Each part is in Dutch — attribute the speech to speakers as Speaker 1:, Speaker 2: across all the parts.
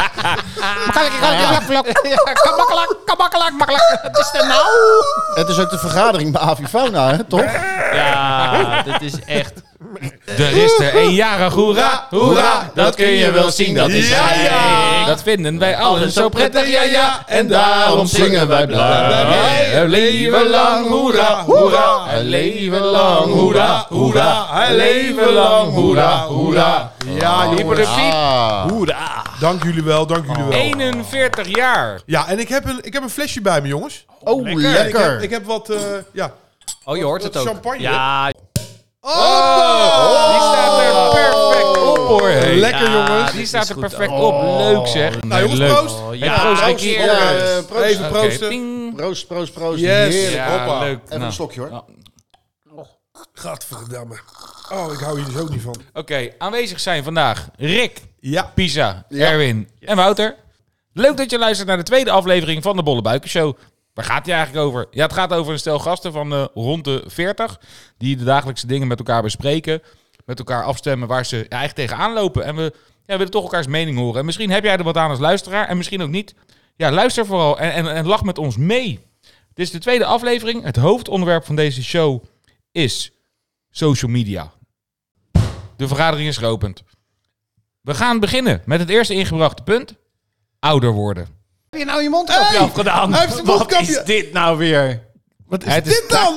Speaker 1: Makkelijk, makkelijk, makkelijk. Ja, makkelijk, makkelijk, makkelijk. Wat is er nou?
Speaker 2: Het is ook de vergadering bij Avifauna, hè, toch?
Speaker 1: Ja, dit is echt...
Speaker 3: Er is er een jarig, hoera, hoera, dat kun je wel zien, dat is
Speaker 1: Ja,
Speaker 3: hij.
Speaker 1: ja.
Speaker 3: Dat vinden wij allen zo prettig, ja, ja, en daarom zingen wij blij. Een leven lang, hoera, hoera, een leven lang, hoera, hoera, een leven lang, hoera, hoera.
Speaker 4: Ja, jongens.
Speaker 2: Ah.
Speaker 4: Hoera. Dank jullie wel, dank
Speaker 3: Oh.
Speaker 4: jullie wel.
Speaker 3: 41 jaar.
Speaker 4: Ja, en ik heb, een, ik heb een flesje bij me, jongens.
Speaker 2: Oh, lekker.
Speaker 4: En Ik heb, ik heb wat, eh, ja.
Speaker 1: Oh, je hoort
Speaker 4: Wat
Speaker 1: het ook.
Speaker 4: champagne.
Speaker 1: Ja,
Speaker 4: Oh,
Speaker 3: Die staat er perfect op, hoor. hé.
Speaker 4: Lekker,
Speaker 1: Ja,
Speaker 4: jongens.
Speaker 3: Die staat er perfect
Speaker 1: Oh.
Speaker 3: op. Leuk, zeg.
Speaker 4: Nou, jongens,
Speaker 3: leuk.
Speaker 4: proost.
Speaker 1: ja.
Speaker 3: Proost,
Speaker 1: Proost,
Speaker 3: een
Speaker 2: Proost,
Speaker 3: keer.
Speaker 2: ja, eh, proost.
Speaker 4: Even
Speaker 3: Oké,
Speaker 4: proosten.
Speaker 3: ping.
Speaker 2: Proost, proost, proost.
Speaker 4: Yes.
Speaker 2: Heerlijk.
Speaker 3: Ja,
Speaker 4: Hoppa.
Speaker 3: leuk.
Speaker 2: Even
Speaker 3: Nou.
Speaker 2: een slokje, hoor.
Speaker 4: Gadverdamme. Oh, ik hou hier dus ook niet van.
Speaker 3: Oké, aanwezig zijn vandaag Rick,
Speaker 4: Ja.
Speaker 3: Pisa,
Speaker 2: Ja.
Speaker 3: Erwin en Wouter. Leuk dat je luistert naar de tweede aflevering van de Bolle Buiken Show. Waar gaat die eigenlijk over? Ja, het gaat over een stel gasten van eh, rond de 40 die de dagelijkse dingen met elkaar bespreken, met elkaar afstemmen waar ze ja, eigenlijk tegenaan lopen. En we ja, willen toch elkaars mening horen. En misschien heb jij er wat aan als luisteraar en misschien ook niet. Ja, luister vooral en, en, en lach met ons mee. Dit is de tweede aflevering. Het hoofdonderwerp van deze show is social media. De vergadering is geopend. We gaan beginnen met het eerste ingebrachte punt. Ouder worden.
Speaker 1: Heb je nou je mondkapje afgedaan?
Speaker 4: Hij heeft zijn
Speaker 1: Wat
Speaker 4: mondkapje-
Speaker 1: is dit nou weer?
Speaker 3: Wat is dit
Speaker 4: dan?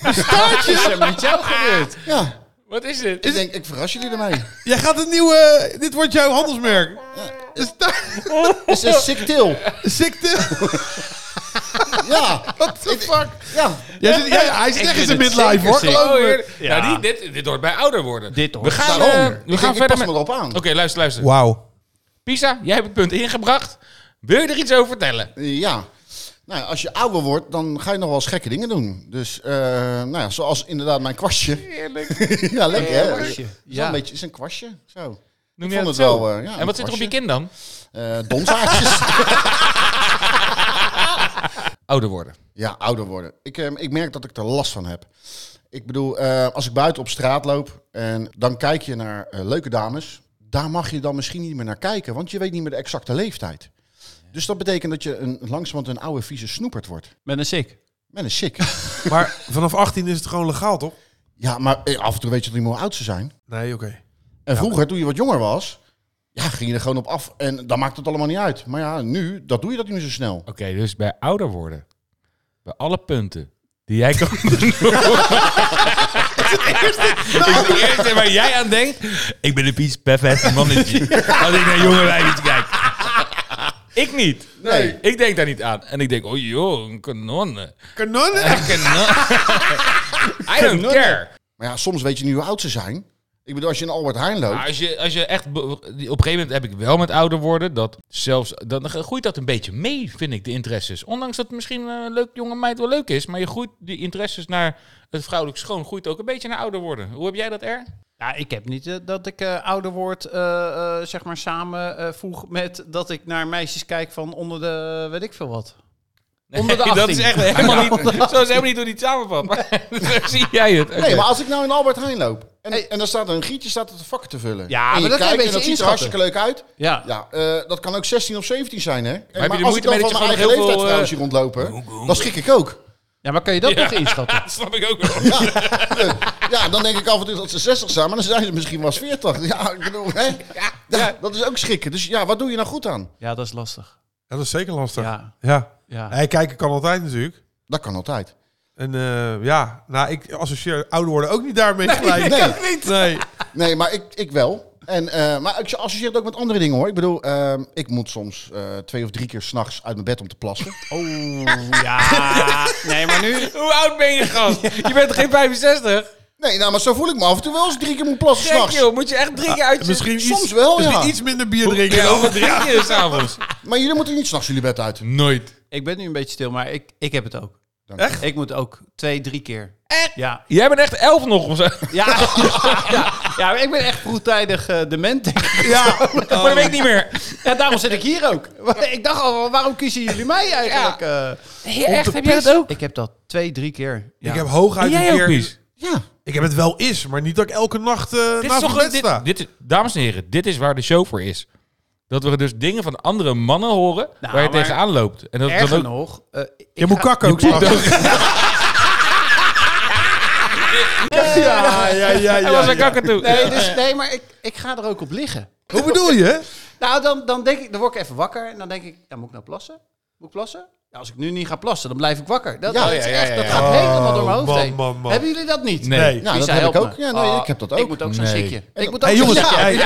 Speaker 1: Wat is er met jou gebeurd?
Speaker 2: Ja,
Speaker 3: Wat is dit?
Speaker 2: ik denk, ik verras jullie ermee.
Speaker 4: Jij gaat een nieuwe... eh, Dit wordt jouw handelsmerk. Is daar...
Speaker 2: Het is een sick til.
Speaker 4: Ziekte.
Speaker 2: Ja,
Speaker 4: What the fuck?
Speaker 2: ja.
Speaker 4: Jij zit, jij, hij zit
Speaker 1: Ik
Speaker 4: echt in
Speaker 1: vind
Speaker 4: zijn
Speaker 1: het
Speaker 4: midlife,
Speaker 1: zeker
Speaker 4: hoor.
Speaker 1: sick.
Speaker 4: Geloof
Speaker 3: Oh,
Speaker 4: me.
Speaker 3: hier- Nou, die- dit, dit hoort bij ouder worden.
Speaker 1: Dit hoort
Speaker 3: We gaan,
Speaker 2: Daarom.
Speaker 3: eh,
Speaker 2: Ik
Speaker 3: we
Speaker 2: denk,
Speaker 3: gaan
Speaker 2: ik
Speaker 3: verder
Speaker 2: pas
Speaker 3: met...
Speaker 2: me
Speaker 3: Oké,
Speaker 2: erop aan.
Speaker 3: luister, luister.
Speaker 4: Wauw.
Speaker 3: Pisa, jij hebt het punt ingebracht. Wil je er iets over vertellen?
Speaker 2: Ja. Nou, ja, als je ouder wordt, dan ga je nog wel eens gekke dingen doen. Dus, eh, nou ja, zoals inderdaad mijn kwastje.
Speaker 3: Eerlijk.
Speaker 2: ja, lekker hè?
Speaker 1: Kwastje, ja.
Speaker 2: Zo'n beetje, is een kwastje. Zo.
Speaker 3: Noem
Speaker 2: Ik
Speaker 3: je
Speaker 2: vond het
Speaker 3: het
Speaker 2: wel,
Speaker 3: zo?
Speaker 2: eh, ja,
Speaker 3: en
Speaker 2: een
Speaker 3: wat zit er op
Speaker 2: kwastje.
Speaker 3: je kin dan?
Speaker 2: Eh donzaadjes.
Speaker 3: Ouder worden.
Speaker 2: ja, ouder worden. Ik, eh, ik merk dat ik er last van heb. Ik bedoel, eh, als ik buiten op straat loop en dan kijk je naar eh, leuke dames. Daar mag je dan misschien niet meer naar kijken, want je weet niet meer de exacte leeftijd. Dus dat betekent dat je een, langzamerhand een oude vieze snoepert wordt.
Speaker 1: Met een sik.
Speaker 2: Men is sick.
Speaker 4: Maar vanaf 18 is het gewoon legaal, toch?
Speaker 2: ja, maar eh, af en toe weet je toch niet meer hoe oud ze zijn.
Speaker 4: Nee, oké.
Speaker 2: En vroeger, toen je wat jonger was, ja, ging je er gewoon op af. En dan maakt het allemaal niet uit. Maar ja, nu, dat doe je dat niet meer zo snel.
Speaker 3: Oké, dus bij ouder worden. Bij alle punten die jij kan Het is het eerste waar jij aan denkt. Ik ben een pies perfect mannetje. Als ik naar jonge wijfjes kijk. Ik niet.
Speaker 2: Nee.
Speaker 3: Ik denk daar niet aan. En ik denk, oh joh, een kanonne.
Speaker 4: Kanonnen?
Speaker 3: Een kanon. I don't care.
Speaker 2: Maar ja, soms weet je niet hoe oud ze zijn. Ik bedoel, als je in Albert Heijn loopt.
Speaker 3: Maar als je, als je echt... be- Op een gegeven moment heb ik wel met ouder worden... dat zelfs... dan groeit dat een beetje mee, vind ik, de interesses. Ondanks dat het misschien eh, een leuk jonge meid wel leuk is... maar je groeit die interesses naar het vrouwelijk schoon... groeit ook een beetje naar ouder worden. Hoe heb jij dat, Er?
Speaker 1: Ja, ik heb niet eh, dat ik eh, ouder word, eh, eh, zeg maar, samen eh, voeg met dat ik naar meisjes kijk van onder de, weet ik veel wat. Onder de 18.
Speaker 3: dat is echt helemaal niet... Zo is helemaal niet hoe die het samenvat. Maar zo zie jij het. Oké.
Speaker 2: Nee, maar als ik nou in Albert Heijn loop. En,
Speaker 1: Hey.
Speaker 2: en dan staat er een gietje staat er te vakken te vullen.
Speaker 1: Ja,
Speaker 2: en
Speaker 1: maar
Speaker 2: je
Speaker 1: dat kan je
Speaker 2: kijkt en dat
Speaker 1: een beetje
Speaker 2: ziet er hartstikke leuk uit.
Speaker 1: Ja.
Speaker 2: Ja, eh, dat kan ook 16 of 17 zijn, hè? En,
Speaker 3: je
Speaker 2: maar
Speaker 3: er
Speaker 2: als
Speaker 3: moeite
Speaker 2: ik dan
Speaker 3: mee dat
Speaker 2: van
Speaker 3: je
Speaker 2: mijn eigen
Speaker 3: gewoon heel
Speaker 2: leeftijd
Speaker 3: veel,
Speaker 2: trouwens hier rondlopen, dan schrik ik ook.
Speaker 1: Ja, maar kan je dat nog inschatten?
Speaker 3: Dat snap ik ook wel.
Speaker 2: Ja, dan denk ik af en toe dat ze 60 zijn, maar dan zijn ze misschien wel 40. Ja, ik bedoel, hè? Ja, dat is ook schrikken. Dus ja, wat doe je nou goed aan?
Speaker 1: Ja, dat is lastig.
Speaker 4: Dat is zeker lastig.
Speaker 1: Ja.
Speaker 4: ja.
Speaker 1: Ja.
Speaker 4: Hij kijken kan altijd natuurlijk.
Speaker 2: Dat kan altijd.
Speaker 4: En eh, ja, nou, ik associeer ouder worden ook niet daarmee gelijk.
Speaker 2: nee.
Speaker 4: ook niet. Nee.
Speaker 2: Nee, maar ik, ik wel. En, eh, maar ik associeer het ook met andere dingen hoor. Ik bedoel, eh, ik moet soms eh, twee of drie keer s'nachts uit mijn bed om te plassen.
Speaker 1: Oeh, ja. Nee, maar nu...
Speaker 3: Hoe oud ben je, gast? Je bent toch geen 65?
Speaker 2: Nee, nou, maar zo voel ik me af en toe wel als ik drie keer moet plassen
Speaker 3: Kijk,
Speaker 2: s'nachts.
Speaker 3: joh. Moet je echt drie keer uit je...
Speaker 4: Misschien iets,
Speaker 2: Soms wel,
Speaker 4: misschien
Speaker 2: ja.
Speaker 4: iets minder bier drinken.
Speaker 3: Ja, over drie keer s'avonds.
Speaker 2: Maar jullie moeten niet s'nachts jullie bed uit.
Speaker 3: Nooit.
Speaker 1: Ik ben nu een beetje stil, maar ik, ik heb het ook.
Speaker 2: Dank
Speaker 4: Echt?
Speaker 1: Ik moet ook twee, drie keer.
Speaker 3: Echt?
Speaker 1: Ja.
Speaker 3: Jij bent echt elf nog of zo.
Speaker 1: Ja, ja, ja. ja maar ik ben echt vroegtijdig eh, dement. denk ik.
Speaker 4: Ja.
Speaker 3: Maar dat weet ik niet meer.
Speaker 1: Ja, daarom zit ik hier ook. Ik dacht al, waarom kiezen jullie mij eigenlijk? eh?
Speaker 3: echt? Heb jij dat ook?
Speaker 1: ik heb dat twee, drie keer. Ja.
Speaker 4: Ik heb hooguit
Speaker 3: jij
Speaker 4: een keer...
Speaker 3: ook, Pies?
Speaker 2: Ja.
Speaker 4: Ik heb het wel eens, maar niet dat ik elke nacht eh
Speaker 3: Dit is
Speaker 4: naast mijn
Speaker 3: toch
Speaker 4: bed
Speaker 3: dit,
Speaker 4: sta.
Speaker 3: dit is, dames en heren, dit is waar de show voor is. dat we dus dingen van andere mannen horen
Speaker 1: Nou,
Speaker 3: waar je
Speaker 1: maar
Speaker 3: tegenaan loopt. En dat is
Speaker 1: Erger
Speaker 3: dan ook...
Speaker 1: nog... eh, ik
Speaker 4: Je moet
Speaker 1: ga-
Speaker 4: kakken ook straks.
Speaker 2: Ja, ja, ja,
Speaker 3: Hij was een kakker toe.
Speaker 1: Nee, dus, nee maar ik, ik ga er ook op liggen.
Speaker 4: Hoe bedoel je?
Speaker 1: Nou, dan, dan, denk ik, dan word ik even wakker en dan denk ik, ja, moet ik nou plassen? Moet ik plassen? Ja, als ik nu niet ga plassen, dan blijf ik wakker. Dat,
Speaker 2: Ja,
Speaker 1: dat
Speaker 2: ja,
Speaker 1: is
Speaker 2: ja,
Speaker 1: echt,
Speaker 2: ja,
Speaker 1: dat
Speaker 2: ja.
Speaker 1: gaat
Speaker 4: Oh,
Speaker 1: helemaal door mijn hoofd
Speaker 4: man,
Speaker 1: heen.
Speaker 4: man, man.
Speaker 1: Hebben jullie dat niet?
Speaker 3: Nee. Nou,
Speaker 4: Nee.
Speaker 2: Ja,
Speaker 1: Lisa,
Speaker 2: dat heb
Speaker 1: help
Speaker 2: ik ook.
Speaker 1: me.
Speaker 2: Ja, nee,
Speaker 1: Ah,
Speaker 2: ik heb dat
Speaker 1: Ik
Speaker 2: ook.
Speaker 1: moet ook zo'n
Speaker 3: Nee.
Speaker 1: zikje. Ik moet ook
Speaker 4: Hey,
Speaker 1: zo'n
Speaker 4: jongens,
Speaker 1: zikje.
Speaker 4: hey,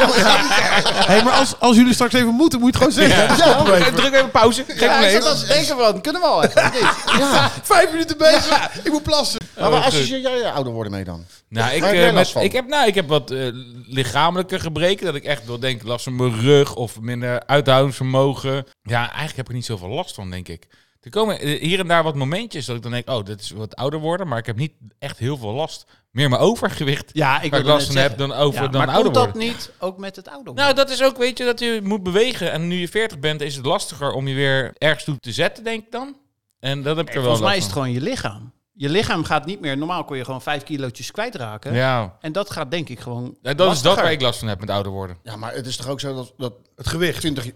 Speaker 4: hey, maar als, als jullie straks even moeten, moet je het gewoon zeggen.
Speaker 2: Ja,
Speaker 4: Help me even.
Speaker 3: Druk even pauze. Geen
Speaker 1: Ja, ik
Speaker 3: probleem.
Speaker 1: zat aan het denken van, kunnen we al echt, of niet?
Speaker 4: Vijf minuten bezig. Ik moet plassen.
Speaker 2: Maar
Speaker 3: Oh,
Speaker 2: waar
Speaker 3: goed.
Speaker 2: associeer jij je ouder worden mee dan?
Speaker 3: Nou, ik,
Speaker 2: Waar heb
Speaker 3: eh,
Speaker 2: jij
Speaker 3: met-
Speaker 2: last van?
Speaker 3: ik, heb, nou, ik heb wat eh, lichamelijke gebreken. Dat ik echt wel denk, last van mijn rug of minder uithoudingsvermogen. Ja, eigenlijk heb ik er niet zoveel last van, denk ik. Er komen eh, hier en daar wat momentjes dat ik dan denk, oh, dit is wat ouder worden. Maar ik heb niet echt heel veel last. Meer mijn overgewicht.
Speaker 1: Ja,
Speaker 3: waar ik
Speaker 1: wilde
Speaker 3: last
Speaker 1: net
Speaker 3: van heb
Speaker 1: zeggen.
Speaker 3: dan over
Speaker 1: Ja,
Speaker 3: dan
Speaker 1: maar
Speaker 3: ouder
Speaker 1: komt
Speaker 3: worden.
Speaker 1: dat niet ook met het ouder worden?
Speaker 3: Nou, dat is ook, weet je, dat je moet bewegen. En nu je 40 bent, is het lastiger om je weer ergens toe te zetten, denk ik dan. En dat heb ik er wel
Speaker 1: Volgens
Speaker 3: last
Speaker 1: mij is het
Speaker 3: van.
Speaker 1: gewoon je lichaam. Je lichaam gaat niet meer... Normaal kon je gewoon vijf kilootjes kwijtraken.
Speaker 3: Ja,
Speaker 1: En dat gaat denk ik gewoon
Speaker 3: Ja, dat is dat
Speaker 1: lastiger.
Speaker 3: waar ik last van heb met ouder worden.
Speaker 2: Ja, maar het is toch ook zo dat, dat
Speaker 4: Het gewicht.
Speaker 2: 20 jaar...